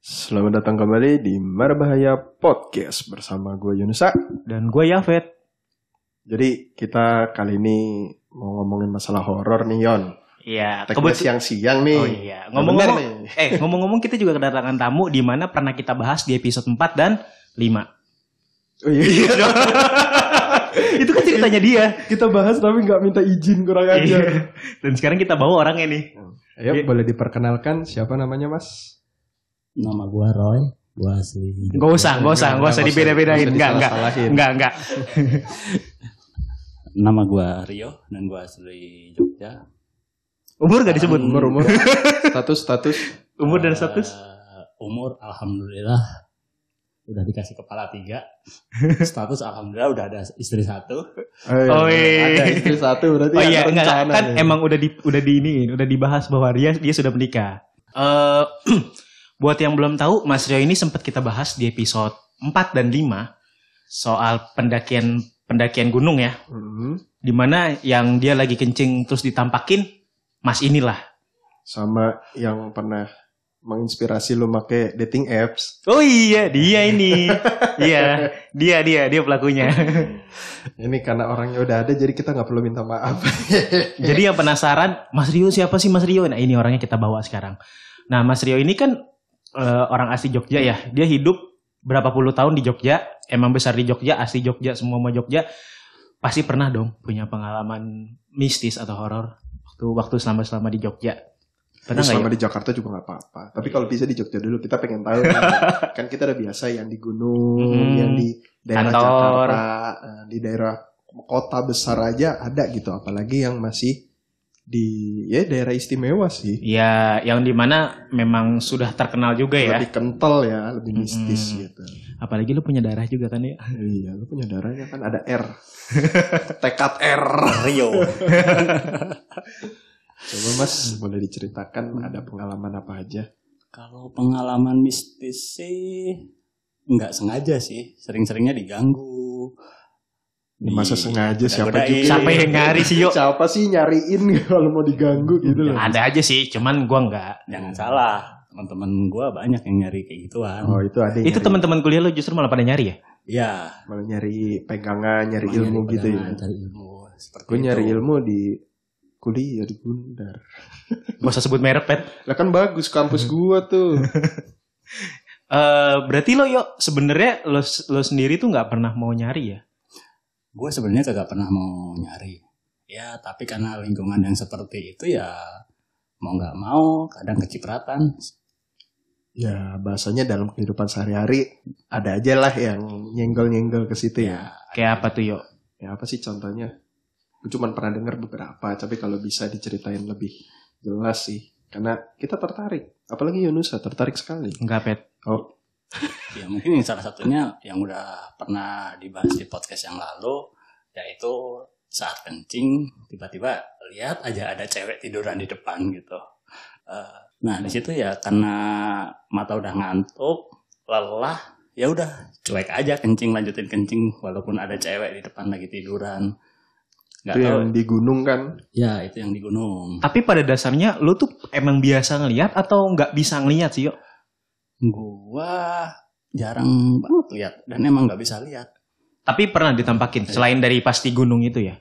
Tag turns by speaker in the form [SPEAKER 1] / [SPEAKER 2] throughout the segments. [SPEAKER 1] Selamat datang kembali di Marbahaya Podcast bersama gue Yunusa.
[SPEAKER 2] Dan gue Yafet.
[SPEAKER 1] Jadi kita kali ini mau ngomongin masalah horor nih Yon.
[SPEAKER 2] Iya,
[SPEAKER 1] Teknik
[SPEAKER 2] kebetulan.
[SPEAKER 1] siang-siang nih.
[SPEAKER 2] Oh iya,
[SPEAKER 1] Nah, bener
[SPEAKER 2] ngomong-ngomong,
[SPEAKER 1] nih.
[SPEAKER 2] eh ngomong-ngomong kita juga kedatangan tamu di mana pernah kita bahas di episode 4 dan 5.
[SPEAKER 1] Oh iya, iya.
[SPEAKER 2] Itu kan ceritanya dia.
[SPEAKER 1] kita bahas tapi nggak minta izin kurang aja.
[SPEAKER 2] Iya. dan sekarang kita bawa orangnya nih.
[SPEAKER 1] Ayo boleh diperkenalkan siapa namanya Mas?
[SPEAKER 3] Nama gua Roy, gua asli.
[SPEAKER 2] Gak usah, gak usah, gak usah dibeda-bedain. Enggak, enggak.
[SPEAKER 1] disalah-salahin.
[SPEAKER 2] Enggak, enggak.
[SPEAKER 3] Nama gua Rio dan gua asli Jogja.
[SPEAKER 2] Umur gak disebut.
[SPEAKER 1] Umur umur status status.
[SPEAKER 2] Umur dan
[SPEAKER 3] Eh,
[SPEAKER 2] status.
[SPEAKER 3] umur alhamdulillah udah dikasih kepala tiga. Status alhamdulillah udah ada istri satu.
[SPEAKER 1] iya.
[SPEAKER 2] Oh iya.
[SPEAKER 1] Ada istri satu berarti
[SPEAKER 2] Oh
[SPEAKER 1] ada
[SPEAKER 2] iya, enggak, enggak.
[SPEAKER 1] rencana
[SPEAKER 2] kan
[SPEAKER 1] nih.
[SPEAKER 2] emang udah di udah di ini, udah dibahas bahwa dia dia sudah menikah. Eh buat yang belum tahu, Mas Rio ini sempat kita bahas di episode 4 dan 5 soal pendakian pendakian gunung ya.
[SPEAKER 1] Mhm.
[SPEAKER 2] dimana yang dia lagi kencing terus ditampakin mas inilah
[SPEAKER 1] sama yang pernah menginspirasi lu make dating apps.
[SPEAKER 2] oh iya dia ini iya dia dia dia pelakunya
[SPEAKER 1] Ini karena orangnya udah ada jadi kita nggak perlu minta maaf.
[SPEAKER 2] jadi yang penasaran mas Rio siapa sih mas Rio nah ini orangnya kita bawa sekarang nah mas Rio ini kan eh, orang asli Jogja ya dia hidup berapa puluh tahun di Jogja emang besar di Jogja asli Jogja semua mau Jogja pasti pernah dong punya pengalaman mistis atau horor waktu waktu selama selama di Jogja pernah nggak
[SPEAKER 1] Selama
[SPEAKER 2] ya? Iya.
[SPEAKER 1] di Jakarta juga nggak apa-apa. Tapi kalau bisa di Jogja dulu kita pengen tahu kan, Kan kita udah biasa yang di gunung,
[SPEAKER 2] Hmm.
[SPEAKER 1] yang di daerah
[SPEAKER 2] Kantor.
[SPEAKER 1] Jakarta, eh, di daerah kota besar aja ada gitu. Apalagi yang masih di ya daerah istimewa sih.
[SPEAKER 2] Ya, yang dimana memang sudah terkenal juga ya.
[SPEAKER 1] Lebih kental ya, lebih
[SPEAKER 2] Hmm.
[SPEAKER 1] mistis
[SPEAKER 2] Mm-mm.
[SPEAKER 1] gitu.
[SPEAKER 2] Apalagi lu punya darah juga kan ya.
[SPEAKER 1] Iya, lu punya darahnya kan ada R. Tekad R.
[SPEAKER 3] Rio.
[SPEAKER 1] Coba Mas, boleh diceritakan
[SPEAKER 2] Hmm.
[SPEAKER 1] ada pengalaman apa aja?
[SPEAKER 3] Kalau pengalaman mistis sih nggak sengaja sih, sering-seringnya diganggu.
[SPEAKER 1] Di masa
[SPEAKER 3] Di-
[SPEAKER 1] sengaja siapa
[SPEAKER 3] godain.
[SPEAKER 1] juga
[SPEAKER 2] Siapa yang nyari sih yo?
[SPEAKER 1] Siapa sih nyariin kalau mau diganggu gitu loh.
[SPEAKER 2] Ada aja sih, cuman gua enggak.
[SPEAKER 1] Iya,
[SPEAKER 3] Jangan salah, teman-teman gua banyak yang nyari kayak gituan.
[SPEAKER 1] Oh itu ada yang
[SPEAKER 2] Itu
[SPEAKER 1] nyari-
[SPEAKER 2] teman-teman kuliah lu justru malah pada nyari ya?
[SPEAKER 3] Iya.
[SPEAKER 1] malah nyari pegangan, nyari
[SPEAKER 3] Emang
[SPEAKER 1] ilmu
[SPEAKER 3] nyari
[SPEAKER 1] gitu ya.
[SPEAKER 3] pegangan, Cari ilmu. Seperti
[SPEAKER 1] Gue nyari
[SPEAKER 3] itu.
[SPEAKER 1] ilmu di kuliah di Gundar.
[SPEAKER 2] Gak usah sebut merek, Pet.
[SPEAKER 1] Lah kan bagus kampus gua tuh.
[SPEAKER 2] Eh, berarti lo yo sebenarnya lo, lo sendiri tuh nggak pernah mau nyari ya?
[SPEAKER 3] Gue sebenarnya kagak pernah mau nyari. Ya, tapi karena lingkungan yang seperti itu ya mau nggak mau kadang kecipratan.
[SPEAKER 1] ya bahasanya dalam kehidupan sehari-hari ada aja lah yang nyenggol-nyenggol ke situ ya.
[SPEAKER 2] Kayak apa tuh yo?
[SPEAKER 1] Ya apa sih contohnya? Gue cuman pernah dengar beberapa, tapi kalau bisa diceritain lebih jelas sih. Karena kita tertarik, apalagi Yunusa tertarik sekali.
[SPEAKER 2] Enggak, Pet.
[SPEAKER 3] Ya, mungkin salah satunya yang udah pernah dibahas di podcast yang lalu yaitu saat kencing tiba-tiba lihat aja ada cewek tiduran di depan gitu. Eh, nah di situ ya karena mata udah ngantuk, lelah, ya udah cuek aja kencing lanjutin kencing walaupun ada cewek di depan lagi tiduran. Nggak
[SPEAKER 1] Itu
[SPEAKER 3] tahu.
[SPEAKER 1] yang di gunung kan.
[SPEAKER 3] Ya itu yang di gunung.
[SPEAKER 2] Tapi pada dasarnya lo tuh emang biasa ngelihat atau nggak bisa ngelihat sih yo?
[SPEAKER 3] Gua jarang banget lihat dan emang nggak bisa lihat.
[SPEAKER 2] Tapi pernah ditampakin selain dari pasti gunung itu ya?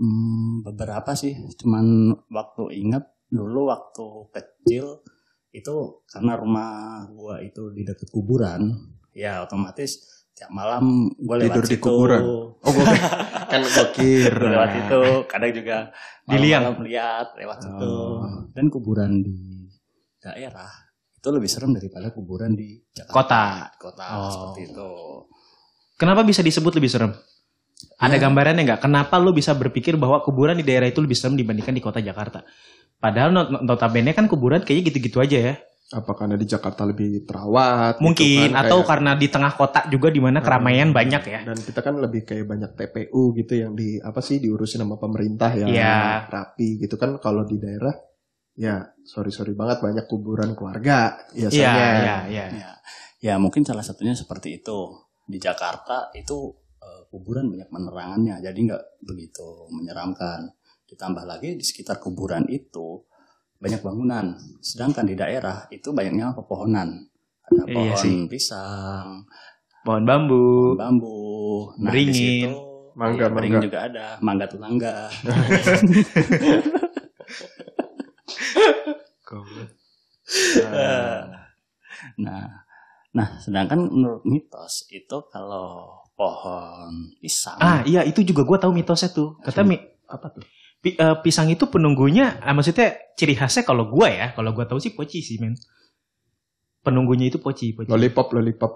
[SPEAKER 3] Hmm, beberapa sih, cuman waktu ingat dulu waktu kecil itu karena rumah gua itu di dekat kuburan, ya otomatis tiap malam gua lewat
[SPEAKER 1] Tidur di
[SPEAKER 3] situ,
[SPEAKER 1] kuburan. Oh, gue kan gue
[SPEAKER 3] gua
[SPEAKER 1] kira.
[SPEAKER 3] lewat itu, kadang juga
[SPEAKER 2] Dilihat.
[SPEAKER 3] malam-malam lihat lewat situ.
[SPEAKER 1] Oh.
[SPEAKER 3] Dan kuburan di daerah itu lebih serem daripada kuburan di Jakarta.
[SPEAKER 2] Kota.
[SPEAKER 3] Kota
[SPEAKER 2] Oh.
[SPEAKER 3] seperti itu.
[SPEAKER 2] Kenapa bisa disebut lebih serem? Ada
[SPEAKER 3] Ya.
[SPEAKER 2] gambarannya nggak? Kenapa lu bisa berpikir bahwa kuburan di daerah itu lebih serem dibandingkan di kota Jakarta? Padahal not- not- notabene kan kuburan kayaknya gitu-gitu aja ya.
[SPEAKER 1] apa karena di Jakarta lebih terawat gitu
[SPEAKER 2] Mungkin
[SPEAKER 1] kan,
[SPEAKER 2] atau
[SPEAKER 1] kayak-
[SPEAKER 2] karena di tengah kota juga di mana keramaian
[SPEAKER 1] Hmm.
[SPEAKER 2] banyak ya.
[SPEAKER 1] dan kita kan lebih kayak banyak TPU gitu yang di apa sih diurusin sama pemerintah ya
[SPEAKER 2] Iya.
[SPEAKER 1] rapi gitu kan kalau di daerah ya sorry sorry banget banyak kuburan keluarga
[SPEAKER 2] Iya,
[SPEAKER 1] biasanya
[SPEAKER 2] iya, iya.
[SPEAKER 3] Ya, ya mungkin salah satunya seperti itu di Jakarta itu eh, kuburan banyak penerangannya, jadi nggak begitu menyeramkan. Ditambah lagi di sekitar kuburan itu banyak bangunan, sedangkan di daerah itu banyaknya pepohonan. ada
[SPEAKER 2] Iya
[SPEAKER 3] pohon
[SPEAKER 2] sih.
[SPEAKER 3] pisang,
[SPEAKER 2] Pohon bambu.
[SPEAKER 3] pohon bambu, nah di
[SPEAKER 2] Beringin.
[SPEAKER 3] situ
[SPEAKER 1] Mangga,
[SPEAKER 3] iya, beringin
[SPEAKER 1] mangga.
[SPEAKER 3] juga ada, mangga tetangga.
[SPEAKER 1] Goblok.
[SPEAKER 3] Eh, nah, nah sedangkan menurut mitos itu kalau pohon pisang,
[SPEAKER 2] Ah iya itu juga gue tahu mitosnya tuh. Kata mi,
[SPEAKER 1] apa tuh?
[SPEAKER 2] pi- eh, pisang itu penunggunya, ah, maksudnya ciri khasnya kalau gue ya, kalau gue tahu sih poci sih men. Penunggunya itu poci, poci.
[SPEAKER 1] Lollipop, lollipop.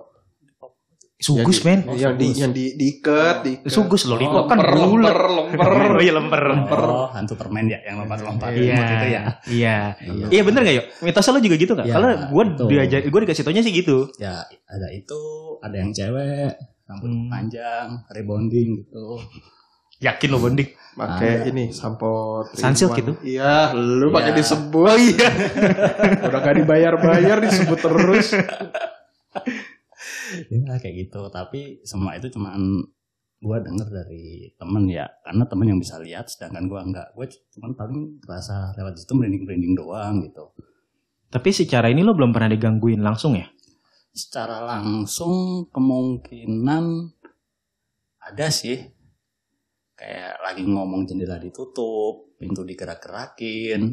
[SPEAKER 1] Yang
[SPEAKER 2] Sugus men, Oh.
[SPEAKER 1] di- Oh, Yang di yang di diikat, diikat. Oh,
[SPEAKER 2] sugus lollipop kan
[SPEAKER 1] Lemper,
[SPEAKER 2] bulat.
[SPEAKER 1] lemper, lemper.
[SPEAKER 2] Oh iya lemper.
[SPEAKER 1] Lemper.
[SPEAKER 3] oh hantu permen ya yang lompat-lompat
[SPEAKER 2] Iya,
[SPEAKER 3] gitu ya.
[SPEAKER 2] iya.
[SPEAKER 3] Iya.
[SPEAKER 2] Iya bener gak yuk? Mitosnya lo juga gitu gak?
[SPEAKER 3] Iya,
[SPEAKER 2] Kalau gue
[SPEAKER 3] betul.
[SPEAKER 2] diajar, gue dikasih taunya sih gitu.
[SPEAKER 3] ya ada itu, ada yang cewek rambut
[SPEAKER 2] Hmm.
[SPEAKER 3] panjang, rebonding gitu.
[SPEAKER 2] Yakin lo bonding?
[SPEAKER 1] Pakai ini sampo
[SPEAKER 2] Ah, iya. Sunsilk
[SPEAKER 1] three in
[SPEAKER 2] gitu?
[SPEAKER 1] one. Iya, lu pakai
[SPEAKER 3] Iya.
[SPEAKER 1] disebut. Iya. Udah gak dibayar-bayar disebut terus.
[SPEAKER 3] Ya kayak gitu, tapi semua itu cuman gua denger dari temen ya karena temen yang bisa lihat sedangkan gua enggak gue cuman paling rasa lewat situ merinding merinding doang gitu
[SPEAKER 2] Tapi secara ini lo belum pernah digangguin langsung ya?
[SPEAKER 3] secara langsung kemungkinan ada sih kayak lagi ngomong jendela ditutup pintu digerak-gerakin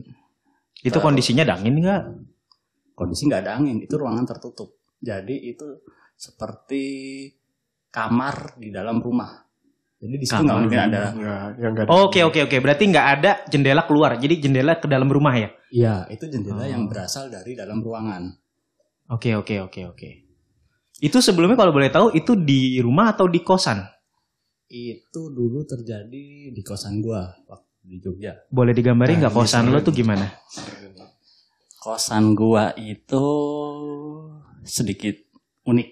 [SPEAKER 2] Itu
[SPEAKER 3] Baru.
[SPEAKER 2] kondisinya dangin gak?
[SPEAKER 3] kondisi nggak ada angin itu ruangan tertutup jadi itu seperti kamar di dalam rumah jadi di situ nggak
[SPEAKER 2] Kamar.
[SPEAKER 3] mungkin Iya, ada
[SPEAKER 1] Enggak, ya enggak.
[SPEAKER 2] Oke oke oke, berarti nggak ada jendela keluar, jadi jendela ke dalam rumah ya?
[SPEAKER 3] Iya, itu jendela
[SPEAKER 2] Oh.
[SPEAKER 3] yang berasal dari dalam ruangan.
[SPEAKER 2] Oke oke oke oke. Itu sebelumnya kalau boleh tahu itu di rumah atau di kosan?
[SPEAKER 3] Itu dulu terjadi di kosan gua waktu di Jogja.
[SPEAKER 2] Boleh digambarin nggak
[SPEAKER 3] Nah, iya,
[SPEAKER 2] kosan
[SPEAKER 3] iya.
[SPEAKER 2] lo tuh gimana?
[SPEAKER 3] Kosan gua itu sedikit unik.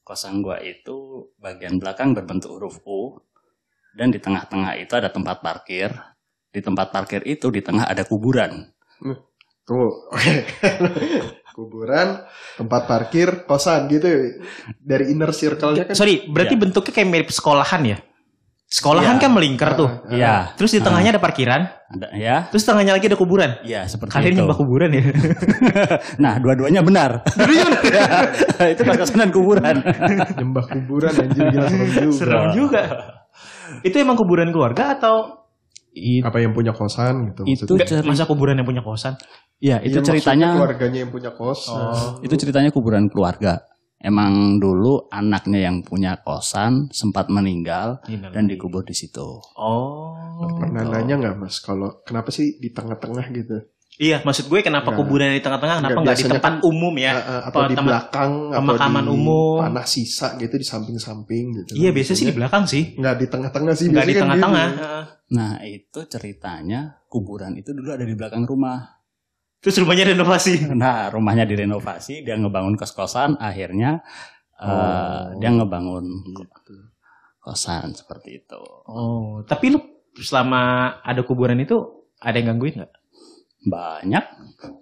[SPEAKER 3] Kosan gua itu bagian belakang berbentuk huruf U dan di tengah-tengah itu ada tempat parkir. Di tempat parkir itu di tengah ada kuburan.
[SPEAKER 1] Tuh, oke. Kuburan, tempat parkir, kosan gitu. Dari inner circle-nya kan.
[SPEAKER 2] Sorry, berarti
[SPEAKER 3] Iya.
[SPEAKER 2] bentuknya kayak mirip sekolahan ya? Sekolahan
[SPEAKER 3] Iya.
[SPEAKER 2] kan melingkar tuh.
[SPEAKER 1] Ah, ah.
[SPEAKER 3] Iya,
[SPEAKER 2] Terus di tengahnya ada parkiran,
[SPEAKER 3] ada ya.
[SPEAKER 2] terus tengahnya lagi ada kuburan.
[SPEAKER 1] Ya,
[SPEAKER 3] Iya, seperti
[SPEAKER 2] Kalian
[SPEAKER 3] itu.
[SPEAKER 2] nyembah kuburan ya?
[SPEAKER 3] Nah, dua-duanya benar. itu kosan dan kuburan.
[SPEAKER 1] Nyembah kuburan anjir gila serem juga.
[SPEAKER 2] Serem juga. Itu emang kuburan keluarga atau
[SPEAKER 1] Apa yang punya kosan gitu
[SPEAKER 3] Itu
[SPEAKER 1] maksudnya.
[SPEAKER 3] cerita
[SPEAKER 2] masa kuburan yang punya kosan?
[SPEAKER 1] Iya,
[SPEAKER 3] Ya, itu
[SPEAKER 1] maksudnya
[SPEAKER 3] ceritanya
[SPEAKER 1] keluarganya yang punya kosan.
[SPEAKER 2] Oh.
[SPEAKER 3] itu ceritanya kuburan keluarga. Emang dulu anaknya yang punya kosan sempat meninggal dan dikubur di situ.
[SPEAKER 2] Oh.
[SPEAKER 1] Pernah nanya nggak mas kalau kenapa sih di tengah-tengah gitu?
[SPEAKER 2] Iya, maksud gue kenapa
[SPEAKER 1] Nggak.
[SPEAKER 2] kuburan di tengah-tengah, kenapa
[SPEAKER 1] Nggak,
[SPEAKER 2] nggak di
[SPEAKER 1] biasanya
[SPEAKER 2] tempat umum ya?
[SPEAKER 1] Eh, eh, atau di
[SPEAKER 2] Teman-
[SPEAKER 1] belakang
[SPEAKER 2] pemakaman
[SPEAKER 1] atau di
[SPEAKER 2] umum.
[SPEAKER 1] tanah sisa gitu di samping-samping gitu.
[SPEAKER 2] Iya, biasanya Iya, sih di belakang sih.
[SPEAKER 1] Nggak di tengah-tengah sih.
[SPEAKER 2] Nggak di
[SPEAKER 1] biasanya kan
[SPEAKER 2] tengah-tengah.
[SPEAKER 1] gitu.
[SPEAKER 2] Heeh.
[SPEAKER 3] Nah, itu ceritanya kuburan itu dulu ada di belakang rumah.
[SPEAKER 2] Terus rumahnya renovasi.
[SPEAKER 3] Nah, rumahnya direnovasi, dia ngebangun kos-kosan, akhirnya eh,
[SPEAKER 1] Oh. Gitu.
[SPEAKER 3] dia ngebangun kosan seperti itu.
[SPEAKER 2] Oh, tapi lu selama ada kuburan itu ada yang gangguin nggak?
[SPEAKER 3] Banyak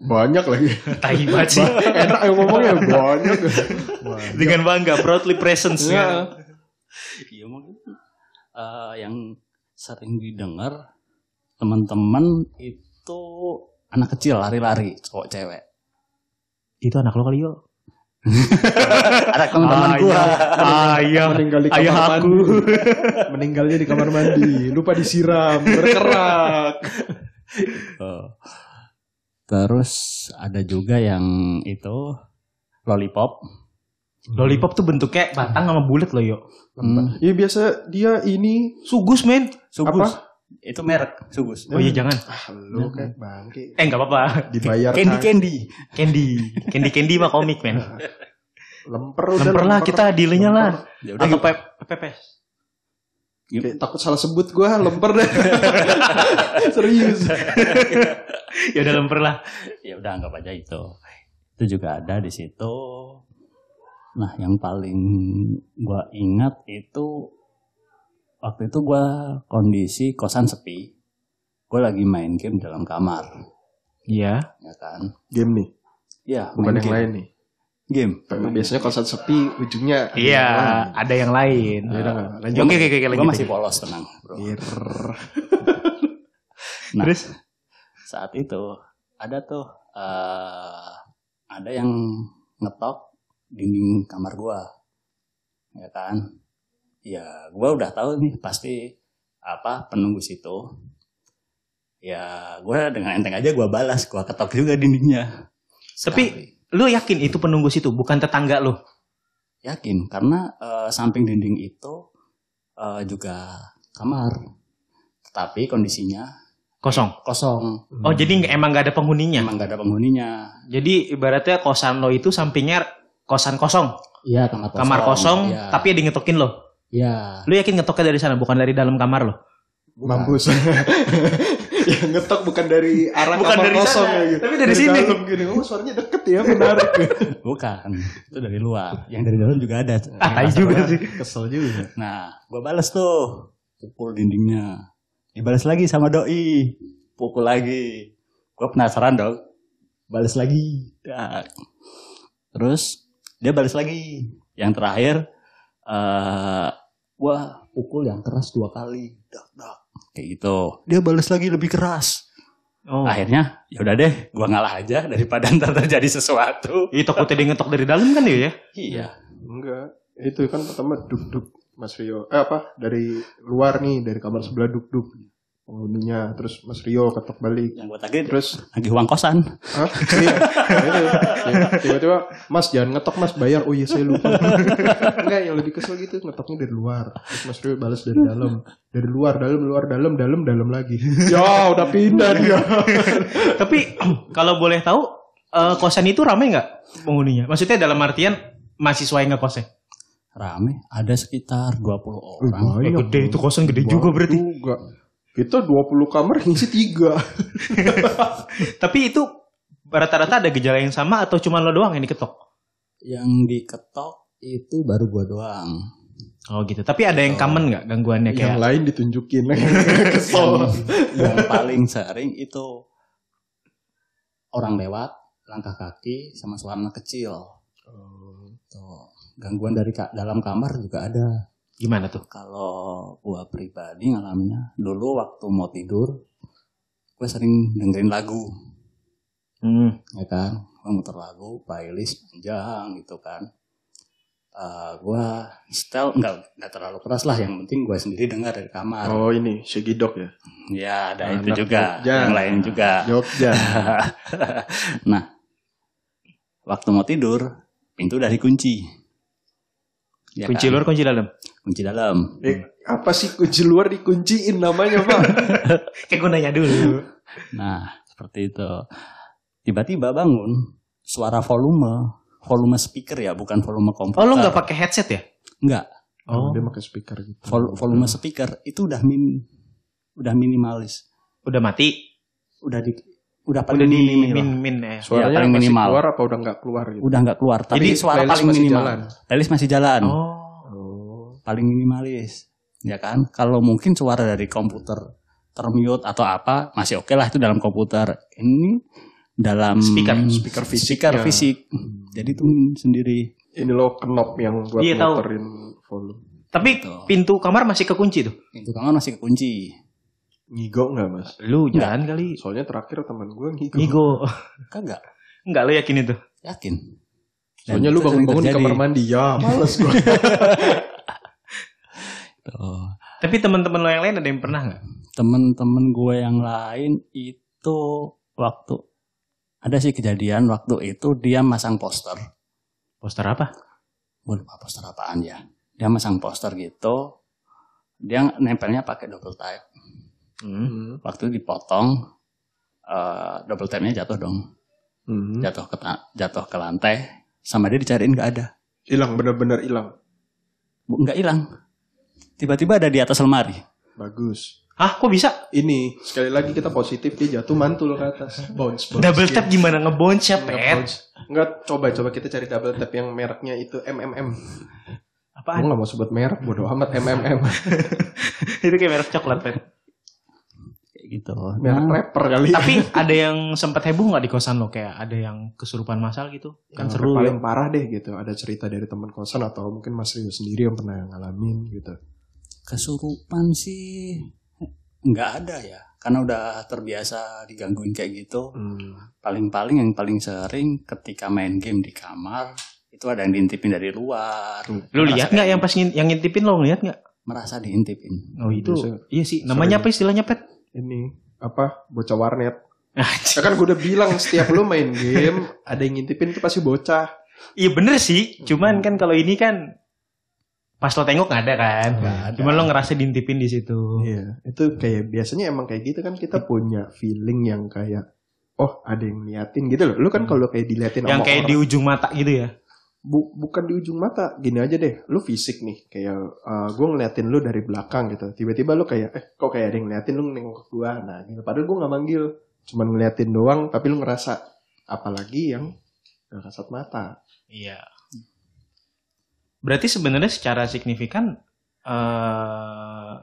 [SPEAKER 1] Banyak lagi.
[SPEAKER 2] Tai banget sih.
[SPEAKER 1] Enak yang ngomongnya banyak. Banyak.
[SPEAKER 2] Dengan bangga, proudly presence
[SPEAKER 1] Iya.
[SPEAKER 2] ya.
[SPEAKER 3] Iya mungkin eh, yang sering didengar teman-teman itu anak kecil lari-lari cowok cewek.
[SPEAKER 2] Itu anak lo kali yo.
[SPEAKER 3] Ada
[SPEAKER 2] Ah,
[SPEAKER 3] teman-teman
[SPEAKER 2] Ayah.
[SPEAKER 3] gua.
[SPEAKER 2] Ayah,
[SPEAKER 1] Meninggal di kamar
[SPEAKER 2] iya. Ah, ayah
[SPEAKER 1] mandi.
[SPEAKER 2] aku.
[SPEAKER 1] Meninggalnya di kamar mandi. Lupa disiram. Berkerak.
[SPEAKER 3] Eh, Terus ada juga yang itu lollipop.
[SPEAKER 2] Lollipop tuh bentuknya batang sama bulat lo yo.
[SPEAKER 3] Hmm.
[SPEAKER 1] Iya biasa dia ini.
[SPEAKER 2] Sugus men.
[SPEAKER 3] Sugus. Itu merek Sugus.
[SPEAKER 2] Oh iya jangan.
[SPEAKER 1] Ah lu kan bangke.
[SPEAKER 2] Eh nggak apa-apa.
[SPEAKER 1] Dibayar
[SPEAKER 3] Candy
[SPEAKER 1] kan.
[SPEAKER 3] Candy.
[SPEAKER 2] Candy, candy candy mah komik men.
[SPEAKER 1] Lemper udah,
[SPEAKER 2] Lemper lah kita dealnya lah.
[SPEAKER 3] Ya udah
[SPEAKER 2] Atau pep- pepes.
[SPEAKER 1] Kayak takut salah sebut gua lemper deh. Serius.
[SPEAKER 2] Ya udah lemper lah.
[SPEAKER 3] ya udah anggap aja itu. Itu juga ada di situ. Nah, yang paling gua ingat itu waktu itu gua kondisi kosan sepi. Gua lagi main game dalam kamar,
[SPEAKER 2] Iya.
[SPEAKER 3] ya kan?
[SPEAKER 1] Game nih.
[SPEAKER 3] Iya,
[SPEAKER 1] Bukan
[SPEAKER 3] main
[SPEAKER 1] yang
[SPEAKER 3] game.
[SPEAKER 1] lain nih.
[SPEAKER 3] Game.
[SPEAKER 1] Biasanya kosan sepi ujungnya. ada
[SPEAKER 2] Iya,
[SPEAKER 1] yang lain.
[SPEAKER 2] ada yang lain.
[SPEAKER 1] Ya udah nggak, lanjut.
[SPEAKER 2] Oke oke oke
[SPEAKER 3] Gua
[SPEAKER 2] lanjut.
[SPEAKER 3] masih polos tenang, Bro.
[SPEAKER 1] Dir.
[SPEAKER 3] Nah,
[SPEAKER 2] Terus
[SPEAKER 3] saat itu ada tuh eh ada yang ngetok dinding kamar gua ya kan ya gua udah tahu nih pasti apa penunggu situ ya gua dengan enteng aja gua balas gua ketok juga dindingnya
[SPEAKER 2] Tapi- Lu yakin itu penunggu situ, bukan tetangga lu?
[SPEAKER 3] yakin karena eh, samping dinding itu eh, juga kamar tetapi kondisinya
[SPEAKER 2] Kosong.
[SPEAKER 3] kosong
[SPEAKER 1] Hmm.
[SPEAKER 2] Oh, jadi nggak- emang nggak ada penghuninya.
[SPEAKER 3] emang gak ada penghuninya
[SPEAKER 2] Jadi ibaratnya kosan lo itu sampingnya kosan kosong,
[SPEAKER 3] iya kamar kosong
[SPEAKER 2] kamar kosong,
[SPEAKER 3] Iya.
[SPEAKER 2] tapi ada yang ngetokin lo.
[SPEAKER 3] Iya.
[SPEAKER 2] Lu yakin ngetoknya dari sana, bukan dari dalam kamar lo?
[SPEAKER 3] Bukan.
[SPEAKER 1] mampus ya ngetok bukan dari arah
[SPEAKER 2] Bukan
[SPEAKER 1] kamar
[SPEAKER 2] dari
[SPEAKER 1] kosong
[SPEAKER 2] sana,
[SPEAKER 1] ya gitu.
[SPEAKER 2] tapi dari sini. Iya,
[SPEAKER 1] dalam gini oh suaranya deket ya menarik
[SPEAKER 3] Bukan. Itu dari luar. Yang dari dalam juga ada.
[SPEAKER 2] Ah, tai juga sih.
[SPEAKER 1] kesel juga
[SPEAKER 3] Nah, gua balas tuh. Pukul dindingnya. Dibalas lagi sama doi. Pukul lagi. Gua penasaran dong. Balas lagi. Dak. Terus dia balas lagi. Yang terakhir eh gua pukul yang keras dua kali. Dak dak. Kayak gitu. Dia balas lagi lebih keras.
[SPEAKER 2] Oh.
[SPEAKER 3] Akhirnya ya udah deh, gua ngalah aja daripada ntar terjadi sesuatu.
[SPEAKER 2] Iya takutnya dia ngetok dari dalam kan ya?
[SPEAKER 3] Iya.
[SPEAKER 1] enggak itu kan pertama duk duk Mas Rio eh apa dari luar nih dari kamar sebelah duk duk penghuninya terus Mas Rio ketok balik
[SPEAKER 3] yang gue tagih
[SPEAKER 1] terus
[SPEAKER 3] lagi uang kosan
[SPEAKER 1] Hah? Iya. Gitu. Iya. tiba-tiba Mas jangan ngetok Mas bayar oh iya saya lupa enggak yang lebih kesel gitu ngetoknya dari luar terus Mas Rio balas dari dalam dari luar dalam luar dalam dalam dalam lagi ya udah pindah dia
[SPEAKER 2] Tapi kalau boleh tahu eh, kosan itu ramai nggak penghuninya? Maksudnya dalam artian mahasiswa yang ngekosnya?
[SPEAKER 3] rame ada sekitar 20 orang
[SPEAKER 2] Eh, gede itu kosan gede juga berarti.
[SPEAKER 1] juga kita 20 kamar ngisi tiga
[SPEAKER 2] Tapi itu rata-rata ada gejala yang sama atau cuma lo doang yang diketok?
[SPEAKER 3] yang diketok itu baru gua doang
[SPEAKER 2] Oh gitu. Tapi ada yang common nggak gangguannya
[SPEAKER 1] yang
[SPEAKER 2] kayak?
[SPEAKER 1] lain ditunjukin Oh. kesel
[SPEAKER 3] yang, yang paling sering itu orang lewat langkah kaki sama suara anak kecil Tuh. gangguan dari ka- dalam kamar juga ada
[SPEAKER 2] Gimana tuh?
[SPEAKER 3] kalau gua pribadi ngalaminnya dulu waktu mau tidur gue sering dengerin lagu
[SPEAKER 2] Hmm.
[SPEAKER 3] ya kan gue muter lagu playlist panjang gitu kan Eh gue setel nggak nggak terlalu keras lah yang penting gue sendiri dengar dari kamar
[SPEAKER 1] oh ini Shigidok ya
[SPEAKER 3] ya
[SPEAKER 2] Nah,
[SPEAKER 3] ada
[SPEAKER 1] Anak
[SPEAKER 3] itu juga
[SPEAKER 1] Jogja.
[SPEAKER 3] yang lain juga
[SPEAKER 1] Jogja
[SPEAKER 3] nah waktu mau tidur pintu dari kunci Ya
[SPEAKER 2] kunci
[SPEAKER 3] kan?
[SPEAKER 2] luar, kunci dalam.
[SPEAKER 3] kunci dalam
[SPEAKER 1] Eh, apa sih kunci luar dikunciin namanya pak
[SPEAKER 2] Kayak gue nanya dulu.
[SPEAKER 3] nah seperti itu tiba-tiba bangun suara volume volume speaker ya bukan volume komputer
[SPEAKER 2] Oh lo nggak pakai headset ya?
[SPEAKER 3] Nggak.
[SPEAKER 2] Oh.
[SPEAKER 1] dia pakai speaker gitu
[SPEAKER 3] Vol- volume speaker itu udah min udah minimalis
[SPEAKER 2] Udah mati.
[SPEAKER 3] udah di udah
[SPEAKER 2] Udah
[SPEAKER 3] paling
[SPEAKER 2] di
[SPEAKER 3] minim
[SPEAKER 2] min
[SPEAKER 3] lah.
[SPEAKER 2] min ya.
[SPEAKER 1] suaranya
[SPEAKER 3] paling
[SPEAKER 1] masih
[SPEAKER 3] minimal.
[SPEAKER 1] keluar apa udah nggak keluar gitu
[SPEAKER 3] udah nggak keluar tapi
[SPEAKER 1] Jadi
[SPEAKER 3] suara
[SPEAKER 1] playlist
[SPEAKER 3] paling
[SPEAKER 1] masih
[SPEAKER 3] minimal
[SPEAKER 1] jalan.
[SPEAKER 3] playlist masih jalan
[SPEAKER 2] Oh.
[SPEAKER 1] oh
[SPEAKER 3] paling minimalis ya kan kalau mungkin suara dari komputer termute atau apa masih oke lah itu dalam komputer ini dalam
[SPEAKER 2] Speaker.
[SPEAKER 1] Speaker fisik
[SPEAKER 3] speaker
[SPEAKER 1] ya.
[SPEAKER 3] fisik jadi tuh sendiri
[SPEAKER 1] ini lo knop yang buat
[SPEAKER 2] Iya, tahu.
[SPEAKER 1] muterin volume
[SPEAKER 2] Tapi
[SPEAKER 3] Gitu.
[SPEAKER 2] pintu kamar masih kekunci tuh.
[SPEAKER 3] pintu kamar kan masih kekunci
[SPEAKER 1] ngigo nggak mas
[SPEAKER 2] Lu
[SPEAKER 3] Nggak.
[SPEAKER 2] jalan kali.
[SPEAKER 1] soalnya terakhir teman gue ngigo,
[SPEAKER 2] Nigo.
[SPEAKER 3] kagak
[SPEAKER 2] Enggak lo yakin itu?
[SPEAKER 3] yakin Dan
[SPEAKER 1] soalnya lu
[SPEAKER 3] itu sering
[SPEAKER 1] bangun-bangun di
[SPEAKER 3] terjadi.
[SPEAKER 1] kamar mandi ya males gue
[SPEAKER 3] Tuh.
[SPEAKER 2] Tapi teman-teman lo yang lain ada yang pernah nggak?
[SPEAKER 3] temen-temen gue yang lain itu waktu ada sih kejadian waktu itu dia masang poster
[SPEAKER 2] Poster apa?
[SPEAKER 3] gue lupa poster apaan ya dia masang poster gitu dia nempelnya pakai double type
[SPEAKER 2] Hmm.
[SPEAKER 3] waktu dipotong eh, double type-nya jatuh dong
[SPEAKER 1] Mhm.
[SPEAKER 3] jatuh ke ta- jatuh ke lantai sama dia dicariin nggak ada
[SPEAKER 1] hilang bener-bener hilang
[SPEAKER 3] Bu, nggak hilang tiba-tiba ada di atas lemari
[SPEAKER 1] bagus
[SPEAKER 2] Hah, kok bisa?
[SPEAKER 1] ini sekali lagi kita positif dia jatuh mantul ke atas bounce bounce
[SPEAKER 2] Double tap gimana ngebonce ya,
[SPEAKER 1] Nggak
[SPEAKER 2] Pet?
[SPEAKER 1] bounce. Nggak, coba coba kita cari double tap yang mereknya itu MMM. Gue
[SPEAKER 2] Apaan?
[SPEAKER 1] nggak mau sebut merek, bodo amat MMM.
[SPEAKER 2] itu kayak merek coklat, Pet.
[SPEAKER 3] kayak gitu
[SPEAKER 1] Merek
[SPEAKER 3] Nah,
[SPEAKER 1] rapper kali.
[SPEAKER 2] Tapi ada yang sempat heboh nggak di kosan lo? Kayak ada yang kesurupan masal gitu? Kan
[SPEAKER 1] Yang
[SPEAKER 2] seru.
[SPEAKER 1] paling parah deh gitu. Ada cerita dari teman kosan atau mungkin Mas Rio sendiri yang pernah ngalamin gitu.
[SPEAKER 3] kesurupan sih nggak ada ya karena udah terbiasa digangguin kayak gitu
[SPEAKER 1] Hmm.
[SPEAKER 3] paling-paling yang paling sering ketika main game di kamar itu ada yang diintipin dari luar
[SPEAKER 2] ya. Lu
[SPEAKER 3] Merasa
[SPEAKER 2] lihat nggak
[SPEAKER 3] kayak-
[SPEAKER 1] gitu.
[SPEAKER 2] yang pas ngin- yang ngintipin lo ngeliat nggak?
[SPEAKER 3] merasa diintipin
[SPEAKER 2] Oh itu.
[SPEAKER 1] Biasa.
[SPEAKER 2] Iya sih. Namanya apa istilahnya pet?
[SPEAKER 1] ini apa bocah warnet ya
[SPEAKER 2] Anjing.
[SPEAKER 1] kan gue udah bilang setiap lu main game ada yang ngintipin itu pasti bocah
[SPEAKER 2] Iya bener
[SPEAKER 1] Hmm.
[SPEAKER 2] sih. Cuman kan kalau ini kan pas lo tengok nggak ada kan.
[SPEAKER 3] Nggak ada.
[SPEAKER 2] Cuman lo ngerasa diintipin di situ.
[SPEAKER 1] iya itu kayak biasanya emang kayak gitu kan kita punya feeling yang kayak oh ada yang niatin gitu loh lu kan kalau kayak diliatin
[SPEAKER 2] Yang
[SPEAKER 1] sama
[SPEAKER 2] kayak
[SPEAKER 1] orang-
[SPEAKER 2] di ujung mata gitu ya.
[SPEAKER 1] Bu- bukan di ujung mata gini aja deh lu fisik nih kayak gue ngeliatin lu dari belakang gitu tiba-tiba lu kayak eh kok kayak ada yang ngeliatin lu nengok ke gua nah gitu padahal gue nggak manggil cuman ngeliatin doang tapi lu ngerasa apalagi yang gak kasat mata
[SPEAKER 2] Iya. Berarti sebenarnya secara signifikan eh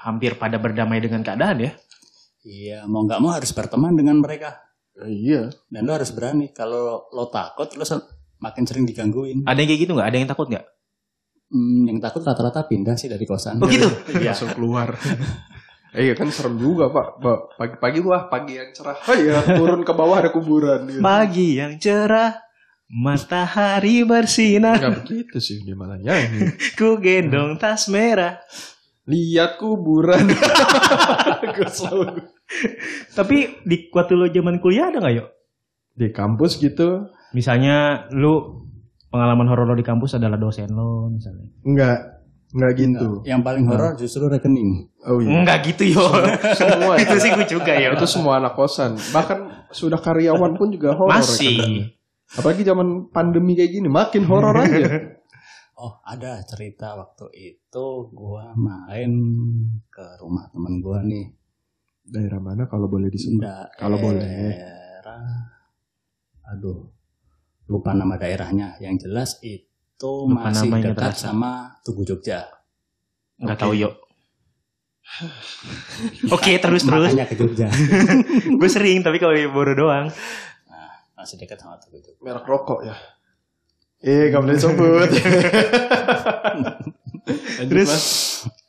[SPEAKER 2] hampir pada berdamai dengan keadaan ya.
[SPEAKER 3] iya mau nggak mau harus berteman dengan mereka
[SPEAKER 1] iya
[SPEAKER 3] dan lo harus berani kalau lo takut lo se- makin sering digangguin
[SPEAKER 2] Ada yang kayak gitu nggak? Ada yang takut nggak?
[SPEAKER 3] Hmm, yang takut rata-rata pindah sih dari kosan
[SPEAKER 2] Oh gitu.
[SPEAKER 1] Iya. Langsung keluar. Iya kan serem juga pak. Ba- Pagi-pagi wah pagi yang cerah. Oh iya turun ke bawah ada kuburan. Gitu.
[SPEAKER 2] Pagi yang cerah, matahari bersinar,
[SPEAKER 1] Nggak begitu sih dia malah nyanyi.
[SPEAKER 2] ku gendong tas merah.
[SPEAKER 1] Lihat kuburan. Gua selalu-
[SPEAKER 2] Tapi di waktu lo zaman kuliah ada nggak yuk?
[SPEAKER 1] Di kampus gitu
[SPEAKER 2] Misalnya lu pengalaman horor lo di kampus adalah dosen lo misalnya.
[SPEAKER 1] nggak nggak gitu.
[SPEAKER 3] yang paling horor justru rekening
[SPEAKER 1] Oh iya.
[SPEAKER 2] Enggak gitu yo.
[SPEAKER 1] Semua
[SPEAKER 2] itu sih gue juga
[SPEAKER 1] Ya,
[SPEAKER 2] yo.
[SPEAKER 1] itu semua anak kosan. Bahkan sudah karyawan pun juga horor. kadang.
[SPEAKER 2] Masih.
[SPEAKER 1] Apalagi zaman pandemi kayak gini makin horor aja.
[SPEAKER 3] Oh ada cerita waktu itu gua main ke rumah temen gua nih
[SPEAKER 1] Daerah mana kalau boleh disebut?
[SPEAKER 3] Daerah-
[SPEAKER 1] Kalau boleh.
[SPEAKER 3] Aduh lupa nama daerahnya yang jelas itu
[SPEAKER 2] Lupa
[SPEAKER 3] masih
[SPEAKER 2] namanya
[SPEAKER 3] dekat
[SPEAKER 2] terasa.
[SPEAKER 3] sama Tugu Jogja
[SPEAKER 2] Enggak
[SPEAKER 3] Oke.
[SPEAKER 2] tahu yo. Oke, terus terus.
[SPEAKER 3] makanya ke Jogja
[SPEAKER 2] Gue sering tapi kalau baru doang.
[SPEAKER 3] masih dekat sama Tugu Jogja
[SPEAKER 1] Merek rokok ya. Eh, gak boleh sebut. Lanjut,
[SPEAKER 2] Terus
[SPEAKER 1] Mas.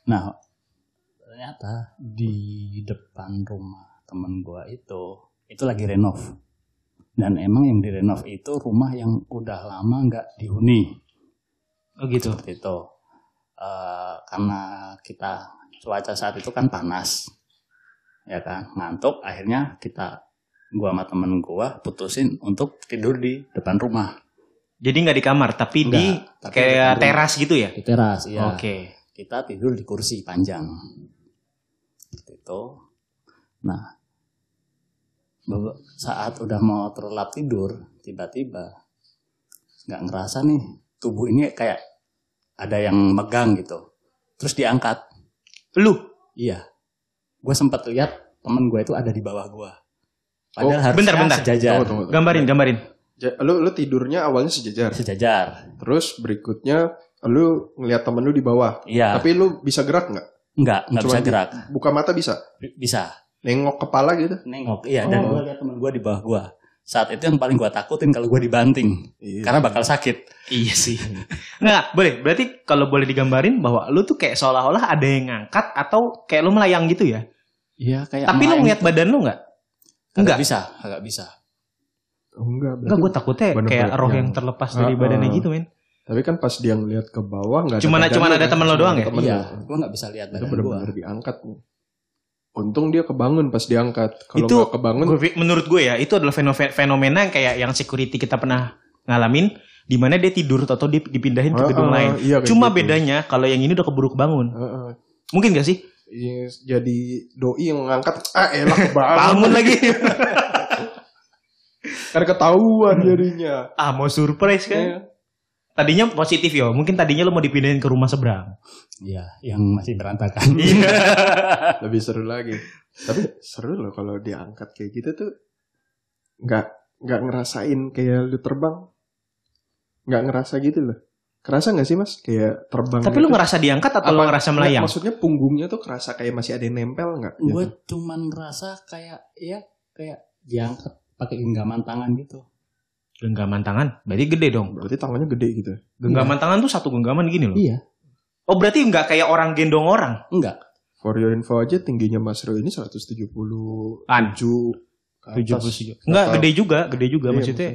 [SPEAKER 3] nah ternyata di depan rumah temen gua itu itu lagi renov dan emang yang direnov itu rumah yang udah lama nggak dihuni
[SPEAKER 2] oh gitu.
[SPEAKER 3] seperti itu Eh, karena kita cuaca saat itu kan panas ya kan ngantuk akhirnya kita gua sama temen gua putusin untuk tidur di depan rumah
[SPEAKER 2] Jadi nggak di kamar tapi di
[SPEAKER 3] Nggak, tapi
[SPEAKER 2] kayak
[SPEAKER 3] di-
[SPEAKER 2] teras gitu ya.
[SPEAKER 3] di teras ya
[SPEAKER 2] Oke.
[SPEAKER 3] kita tidur di kursi panjang seperti itu nah be- saat udah mau terlelap tidur tiba-tiba nggak ngerasa nih tubuh ini kayak ada yang megang gitu terus diangkat
[SPEAKER 2] Lu
[SPEAKER 3] Iya. Gue sempat lihat temen gue itu ada di bawah gue.
[SPEAKER 1] Oh,
[SPEAKER 3] Padahal harusnya
[SPEAKER 2] bentar, bentar.
[SPEAKER 3] sejajar.
[SPEAKER 1] Tunggu, tunggu, tunggu.
[SPEAKER 2] gambarin gambarin.
[SPEAKER 1] Ja- Lu, lu tidurnya awalnya sejajar.
[SPEAKER 3] Sejajar.
[SPEAKER 1] Terus berikutnya lu ngeliat temen lu di bawah.
[SPEAKER 3] Iya.
[SPEAKER 1] Tapi lu bisa gerak nggak?
[SPEAKER 3] Enggak, enggak
[SPEAKER 1] Cuma
[SPEAKER 3] bisa
[SPEAKER 1] di-
[SPEAKER 3] gerak.
[SPEAKER 1] Buka mata bisa.
[SPEAKER 3] Bisa.
[SPEAKER 1] Nengok kepala gitu.
[SPEAKER 3] Nengok. Iya, dan
[SPEAKER 1] Oh.
[SPEAKER 3] gue lihat temen gue di bawah gue. Saat itu yang paling gue takutin kalau gue dibanting.
[SPEAKER 1] Iya.
[SPEAKER 3] Karena bakal sakit.
[SPEAKER 2] Iya sih. Nggak, boleh. Berarti kalau boleh digambarin bahwa lu tuh kayak seolah-olah ada yang ngangkat atau kayak lu melayang gitu ya.
[SPEAKER 3] Iya, kayak
[SPEAKER 2] tapi lu ngeliat badan lu nggak?
[SPEAKER 3] Enggak
[SPEAKER 2] Enggak.
[SPEAKER 3] bisa, enggak bisa.
[SPEAKER 1] Oh, enggak.
[SPEAKER 2] Enggak,
[SPEAKER 1] berarti-
[SPEAKER 2] gue takutnya
[SPEAKER 1] Bener-bener
[SPEAKER 2] kayak roh
[SPEAKER 1] yang-
[SPEAKER 2] yang terlepas dari
[SPEAKER 1] Ah,
[SPEAKER 2] badannya
[SPEAKER 1] ah.
[SPEAKER 2] gitu, men.
[SPEAKER 1] Tapi kan pas dia ngeliat ke bawah nggak. ada
[SPEAKER 2] Cuman-
[SPEAKER 1] badan
[SPEAKER 2] cuman
[SPEAKER 1] lu
[SPEAKER 2] ada
[SPEAKER 1] kan,
[SPEAKER 2] temen lu
[SPEAKER 1] cuman
[SPEAKER 2] doang ya?
[SPEAKER 1] temen
[SPEAKER 3] iya,
[SPEAKER 1] lu.
[SPEAKER 3] gue enggak bisa lihat
[SPEAKER 1] Itu
[SPEAKER 3] badan gue.
[SPEAKER 1] benar-benar diangkat. Untung dia kebangun pas diangkat. Kalau
[SPEAKER 2] Itu-
[SPEAKER 1] nggak kebangun,
[SPEAKER 2] Gua pi- menurut gue ya, itu adalah fenome- fenomena yang kayak yang security kita pernah ngalamin di mana dia tidur atau dia dipindahin ke
[SPEAKER 1] Ah,
[SPEAKER 2] gedung
[SPEAKER 1] ah,
[SPEAKER 2] lain.
[SPEAKER 1] iya, kayak
[SPEAKER 2] Cuma
[SPEAKER 1] gitu.
[SPEAKER 2] bedanya kalau yang ini udah keburu kebangun.
[SPEAKER 1] Heeh.
[SPEAKER 2] Mungkin gak sih?
[SPEAKER 1] Iya, jadi doi yang ngangkat ah elah kebangun
[SPEAKER 2] Bangun lagi.
[SPEAKER 1] kan ketahuan jadinya
[SPEAKER 2] ah, mau surprise kan.
[SPEAKER 1] Iya.
[SPEAKER 2] Tadinya positif yo, mungkin tadinya lo mau dipindahin ke rumah seberang.
[SPEAKER 3] Iya, yang masih berantakan.
[SPEAKER 2] Iya.
[SPEAKER 1] lebih seru lagi tapi seru loh kalau diangkat kayak gitu tuh nggak nggak ngerasain kayak lu terbang nggak ngerasa gitu loh kerasa nggak sih mas kayak terbang
[SPEAKER 2] Tapi
[SPEAKER 1] gitu?
[SPEAKER 2] lo ngerasa diangkat atau lo
[SPEAKER 1] Apa-
[SPEAKER 2] ngerasa
[SPEAKER 1] Nggak,
[SPEAKER 2] melayang?
[SPEAKER 1] maksudnya punggungnya tuh kerasa kayak masih ada yang nempel nggak gitu?
[SPEAKER 2] Iya.
[SPEAKER 3] gue cuman ngerasa kayak ya kayak diangkat pakai genggaman tangan gitu.
[SPEAKER 2] Genggaman tangan, berarti gede dong.
[SPEAKER 1] berarti tangannya gede gitu
[SPEAKER 2] Iya. Genggaman tangan tuh satu genggaman gini loh.
[SPEAKER 3] Iya.
[SPEAKER 2] Oh berarti nggak kayak orang gendong orang?
[SPEAKER 3] Enggak.
[SPEAKER 1] For your info aja tingginya Mas Rio ini 170
[SPEAKER 2] An.
[SPEAKER 1] ke atas.
[SPEAKER 2] 73. Enggak,
[SPEAKER 1] Kata-
[SPEAKER 2] gede juga, gede juga
[SPEAKER 1] Iya,
[SPEAKER 2] maksudnya.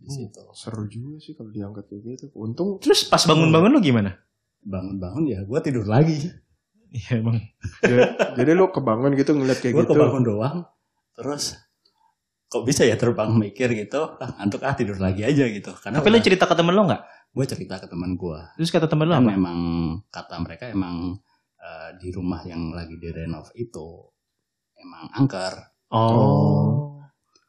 [SPEAKER 3] di situ.
[SPEAKER 1] Seru juga sih kalau diangkat kayak gitu. Untung
[SPEAKER 2] Terus pas bangun-bangun lu gimana?
[SPEAKER 3] Bangun-bangun ya gue tidur lagi.
[SPEAKER 2] Iya, Bang.
[SPEAKER 1] ya, jadi lu kebangun gitu ngeliat kayak
[SPEAKER 3] Gue
[SPEAKER 1] gitu.
[SPEAKER 3] kebangun doang. Terus kok bisa ya terbang mikir gitu? Ah, ngantuk ah tidur lagi aja gitu. Karena
[SPEAKER 2] Tapi lu cerita ke temen lu enggak?
[SPEAKER 3] gue cerita ke teman gue.
[SPEAKER 2] Terus kata temen lu
[SPEAKER 3] Kan
[SPEAKER 2] apa?
[SPEAKER 3] memang kata mereka emang eh, di rumah yang lagi direnov itu emang angker
[SPEAKER 1] Oh.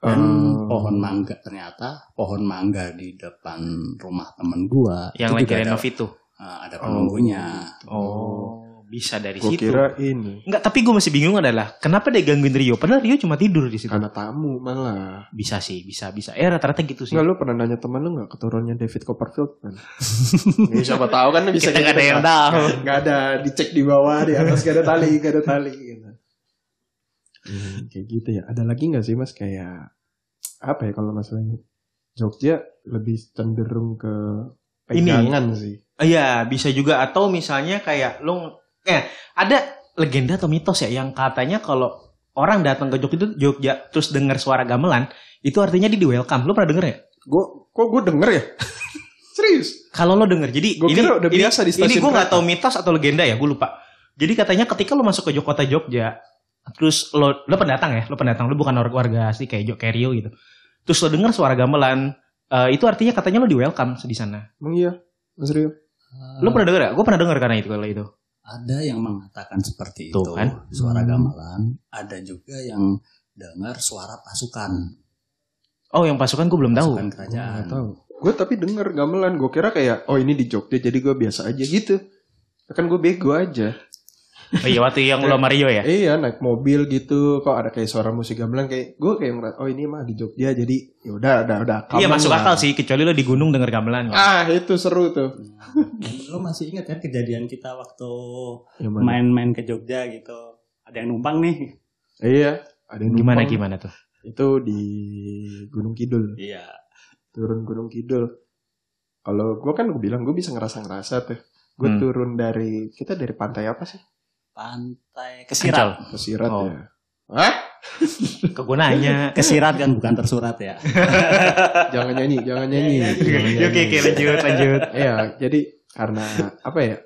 [SPEAKER 3] dan
[SPEAKER 1] Ah.
[SPEAKER 2] Oh,
[SPEAKER 3] pohon mangga ternyata pohon mangga di depan rumah temen gua
[SPEAKER 2] yang
[SPEAKER 3] itu
[SPEAKER 2] lagi
[SPEAKER 3] juga ada,
[SPEAKER 2] renov itu.
[SPEAKER 3] eh, ada penunggunya
[SPEAKER 2] Oh, bisa dari
[SPEAKER 1] Gue
[SPEAKER 2] situ.
[SPEAKER 1] kira ini
[SPEAKER 2] Enggak, tapi gue masih bingung adalah kenapa dia gangguin Rio? Padahal Rio cuma tidur di situ.
[SPEAKER 1] karena tamu malah.
[SPEAKER 2] Bisa sih, bisa, bisa. Eh, rata-rata gitu sih.
[SPEAKER 1] Enggak lu pernah nanya teman lu nggak keturunannya David Copperfield kan? ya, siapa tahu kan bisa
[SPEAKER 2] Kita nggak ada yang tahu.
[SPEAKER 1] Gak ada dicek di bawah di atas gak ada tali gak ada tali gitu. Hmm, kayak gitu ya. Ada lagi nggak sih mas kayak apa ya kalau masalahnya Jogja lebih cenderung ke
[SPEAKER 2] Ini.
[SPEAKER 1] pegangan sih.
[SPEAKER 2] Iya, bisa juga atau misalnya kayak lu eh ada legenda atau mitos ya yang katanya kalau orang datang ke Jogja, Jogja terus dengar suara gamelan, itu artinya dia di welcome. Lu pernah denger ya?
[SPEAKER 1] Gue kok gue denger ya? Serius?
[SPEAKER 2] Kalau lo denger. Jadi
[SPEAKER 1] Gua
[SPEAKER 2] ini
[SPEAKER 1] kira udah
[SPEAKER 2] ini-
[SPEAKER 1] biasa di stasiun
[SPEAKER 2] Ini gue nggak
[SPEAKER 1] kereta.
[SPEAKER 2] tahu mitos atau legenda ya, gue lupa. Jadi katanya ketika lo masuk ke Jog- kota Jogja, terus lo lo pendatang ya, lo pendatang, lo bukan orang warga asli kayak Jog kayak Rio gitu. Terus lo denger suara gamelan, eh, itu artinya katanya lo di welcome di sana.
[SPEAKER 1] Emang iya? Mas Rio?
[SPEAKER 3] Oh.
[SPEAKER 1] Hmm.
[SPEAKER 2] Lo pernah denger gak? Gue pernah denger karena itu kalau itu.
[SPEAKER 3] ada yang mengatakan seperti
[SPEAKER 2] Tuh
[SPEAKER 3] itu
[SPEAKER 2] kan.
[SPEAKER 3] suara
[SPEAKER 1] Hmm.
[SPEAKER 3] gamelan ada juga yang dengar suara pasukan
[SPEAKER 2] Oh, yang pasukan gue belum Oh, tahu.
[SPEAKER 3] pasukan kerajaan
[SPEAKER 1] Gak tahu. Gue tapi denger gamelan. Gue kira kayak oh ini di Jogja jadi gue biasa aja gitu. Kan gue bego aja.
[SPEAKER 2] Oh, iya waktu yang lo Mario ya.
[SPEAKER 1] Iya naik mobil gitu kok ada kayak suara musik gamelan kayak gue kayak ngerasa oh ini mah di Jogja jadi ya udah udah udah
[SPEAKER 2] Iya
[SPEAKER 1] aman
[SPEAKER 2] masuk
[SPEAKER 1] lah.
[SPEAKER 2] akal sih, kecuali lo di gunung denger gamelan. kan.
[SPEAKER 1] Ah itu seru tuh.
[SPEAKER 3] Nah, lo masih ingat kan kejadian kita waktu
[SPEAKER 2] Iya,
[SPEAKER 1] Yang mana?
[SPEAKER 3] main-main ke Jogja gitu ada yang numpang nih
[SPEAKER 1] Iya ada yang
[SPEAKER 2] Gimana
[SPEAKER 1] numpang.
[SPEAKER 2] gimana tuh?
[SPEAKER 1] Itu di Gunung Kidul
[SPEAKER 3] iya
[SPEAKER 1] turun Gunung Kidul. Kalau gue kan gue bilang gue bisa ngerasa ngerasa tuh. Gue
[SPEAKER 2] Hmm.
[SPEAKER 1] turun dari kita dari pantai apa sih?
[SPEAKER 3] pantai kesirat
[SPEAKER 1] Kesirat
[SPEAKER 2] Oh.
[SPEAKER 1] ya. Hah?
[SPEAKER 2] Ke gue nanya.
[SPEAKER 3] kesirat kan bukan tersurat ya
[SPEAKER 1] Jangan nyanyi, jangan
[SPEAKER 2] Iya,
[SPEAKER 1] nyanyi. Jangan
[SPEAKER 2] Oke
[SPEAKER 1] nyanyi.
[SPEAKER 2] oke oke, lanjut lanjut.
[SPEAKER 1] Iya, jadi karena apa ya?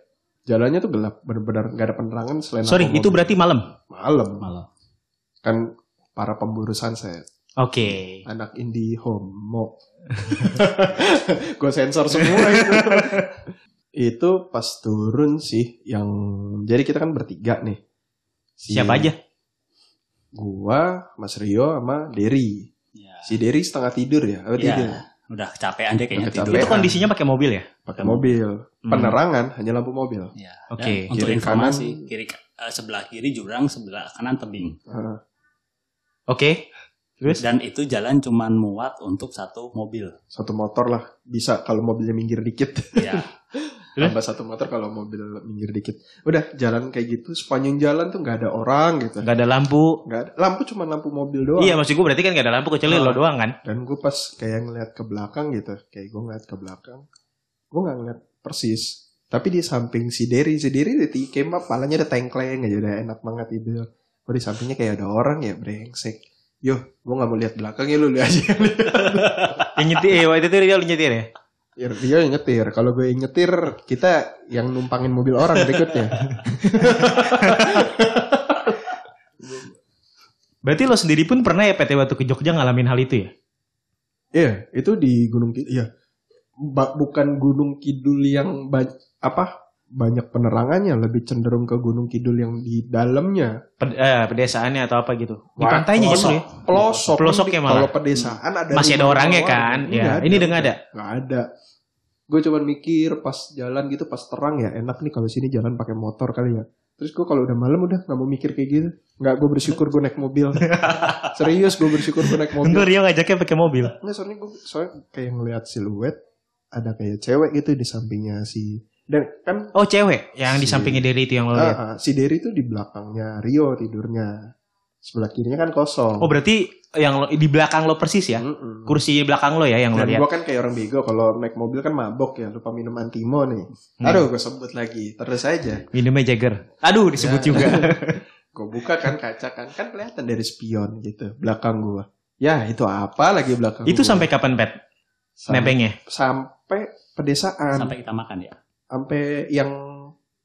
[SPEAKER 1] Jalannya tuh gelap, benar-benar gak ada penerangan selain
[SPEAKER 2] Sorry,
[SPEAKER 1] lampu
[SPEAKER 2] itu
[SPEAKER 1] mobil.
[SPEAKER 2] berarti malam.
[SPEAKER 1] malam.
[SPEAKER 3] malah
[SPEAKER 1] Kan para pemburu sunset,
[SPEAKER 2] Oke.
[SPEAKER 1] anak indie homo. Gue sensor semua itu. itu pas turun sih yang jadi kita kan bertiga nih. Si
[SPEAKER 2] Siapa aja?
[SPEAKER 1] Gua, Mas Rio sama Derry.
[SPEAKER 3] ya.
[SPEAKER 1] Si Derry setengah tidur ya. Oh,
[SPEAKER 3] Iya.
[SPEAKER 1] tidur.
[SPEAKER 3] udah kecapean dia kayaknya
[SPEAKER 1] Udah
[SPEAKER 3] tidur.
[SPEAKER 1] kecapean.
[SPEAKER 2] Itu kondisinya pakai mobil ya?
[SPEAKER 1] Pakai mobil.
[SPEAKER 2] Hmm.
[SPEAKER 1] Penerangan hanya lampu mobil.
[SPEAKER 3] Iya.
[SPEAKER 2] Oke,
[SPEAKER 3] Dan Untuk
[SPEAKER 1] kiri
[SPEAKER 3] informasi,
[SPEAKER 1] kanan.
[SPEAKER 3] kiri eh, sebelah kiri jurang, sebelah kanan tebing.
[SPEAKER 1] Heeh.
[SPEAKER 2] Oke. Terus?
[SPEAKER 3] Dan itu jalan cuman muat untuk satu mobil.
[SPEAKER 1] satu motor lah bisa kalau mobilnya minggir dikit
[SPEAKER 3] Ya,
[SPEAKER 2] Terus?
[SPEAKER 1] tambah satu motor kalau mobil minggir dikit udah jalan kayak gitu sepanjang jalan tuh nggak ada orang gitu
[SPEAKER 2] Gak ada lampu.
[SPEAKER 1] nggak ada lampu cuma lampu mobil doang
[SPEAKER 2] Iya, maksud gue berarti kan gak ada lampu kecuali
[SPEAKER 1] Ah.
[SPEAKER 2] lo doang kan?
[SPEAKER 1] dan gue pas kayak ngeliat ke belakang gitu kayak gue ngeliat ke belakang gue nggak ngeliat persis tapi di samping si Derry si Derry di came up palanya ada tengkleng aja udah enak banget tidur gue di sampingnya kayak ada orang ya brengsek yo gue nggak mau lihat belakangnya lu lihat aja
[SPEAKER 2] Yang nyetir, eh, waktu itu dia lo nyetir ya?
[SPEAKER 1] Ya, Rio yang nyetir. Kalau gue yang nyetir, kita yang numpangin mobil orang berikutnya.
[SPEAKER 2] Berarti lo sendiri pun pernah ya PT waktu ke Jogja ngalamin hal itu ya?
[SPEAKER 1] Iya, itu di Gunung Kidul. Iya. Ba- bukan Gunung Kidul yang ba- apa? Banyak penerangannya, lebih cenderung ke Gunung Kidul yang di dalamnya.
[SPEAKER 2] Ped- eh, pedesaannya atau apa gitu? Di
[SPEAKER 1] Wah,
[SPEAKER 2] pantainya justru ya?
[SPEAKER 1] Pelosok.
[SPEAKER 2] Pelosoknya malah.
[SPEAKER 1] Kalau pedesaan ada
[SPEAKER 2] Masih ada
[SPEAKER 1] rumah
[SPEAKER 2] orangnya
[SPEAKER 1] doang.
[SPEAKER 2] kan?
[SPEAKER 1] Nggak
[SPEAKER 2] Ya, ini udah nggak ada.
[SPEAKER 1] Nggak Iya, ada. Gue cuman mikir pas jalan gitu, pas terang ya enak nih kalau sini jalan pakai motor kali ya. Terus gue kalau udah malam udah nggak mau mikir kayak gitu. Nggak, gue bersyukur gue naik mobil. Serius gue bersyukur gue naik mobil.
[SPEAKER 2] Tentu Rio ngajaknya pakai mobil.
[SPEAKER 1] Nggak, soalnya gue soalnya kayak ngeliat siluet ada kayak cewek gitu di sampingnya si dan kan
[SPEAKER 2] Oh, cewek yang di
[SPEAKER 1] Si-
[SPEAKER 2] Oh, Ah. iya. sampingnya Derry itu yang lo lihat.
[SPEAKER 1] ah, ah, si Derry tuh di belakangnya Rio tidurnya. Sebelah kirinya kan kosong.
[SPEAKER 2] Oh berarti yang lo- di belakang lo persis ya?
[SPEAKER 1] Mm-mm.
[SPEAKER 2] Kursi belakang lo ya yang lo
[SPEAKER 1] Dan
[SPEAKER 2] lihat?
[SPEAKER 1] gue kan kayak orang bego kalau naik mobil kan mabok ya lupa minum antimo nih.
[SPEAKER 2] Hmm.
[SPEAKER 1] Aduh gue sebut lagi terus aja.
[SPEAKER 2] Minumnya Jagger. Aduh disebut
[SPEAKER 1] Ya.
[SPEAKER 2] juga.
[SPEAKER 1] Gue buka kan kaca kan kan kelihatan dari spion gitu belakang gue. Ya itu apa lagi belakang?
[SPEAKER 2] Itu
[SPEAKER 1] gua?
[SPEAKER 2] sampai kapan Pet?
[SPEAKER 1] Sam-
[SPEAKER 2] Nebengnya?
[SPEAKER 1] sampai pedesaan
[SPEAKER 3] sampai kita makan ya.
[SPEAKER 1] sampai yang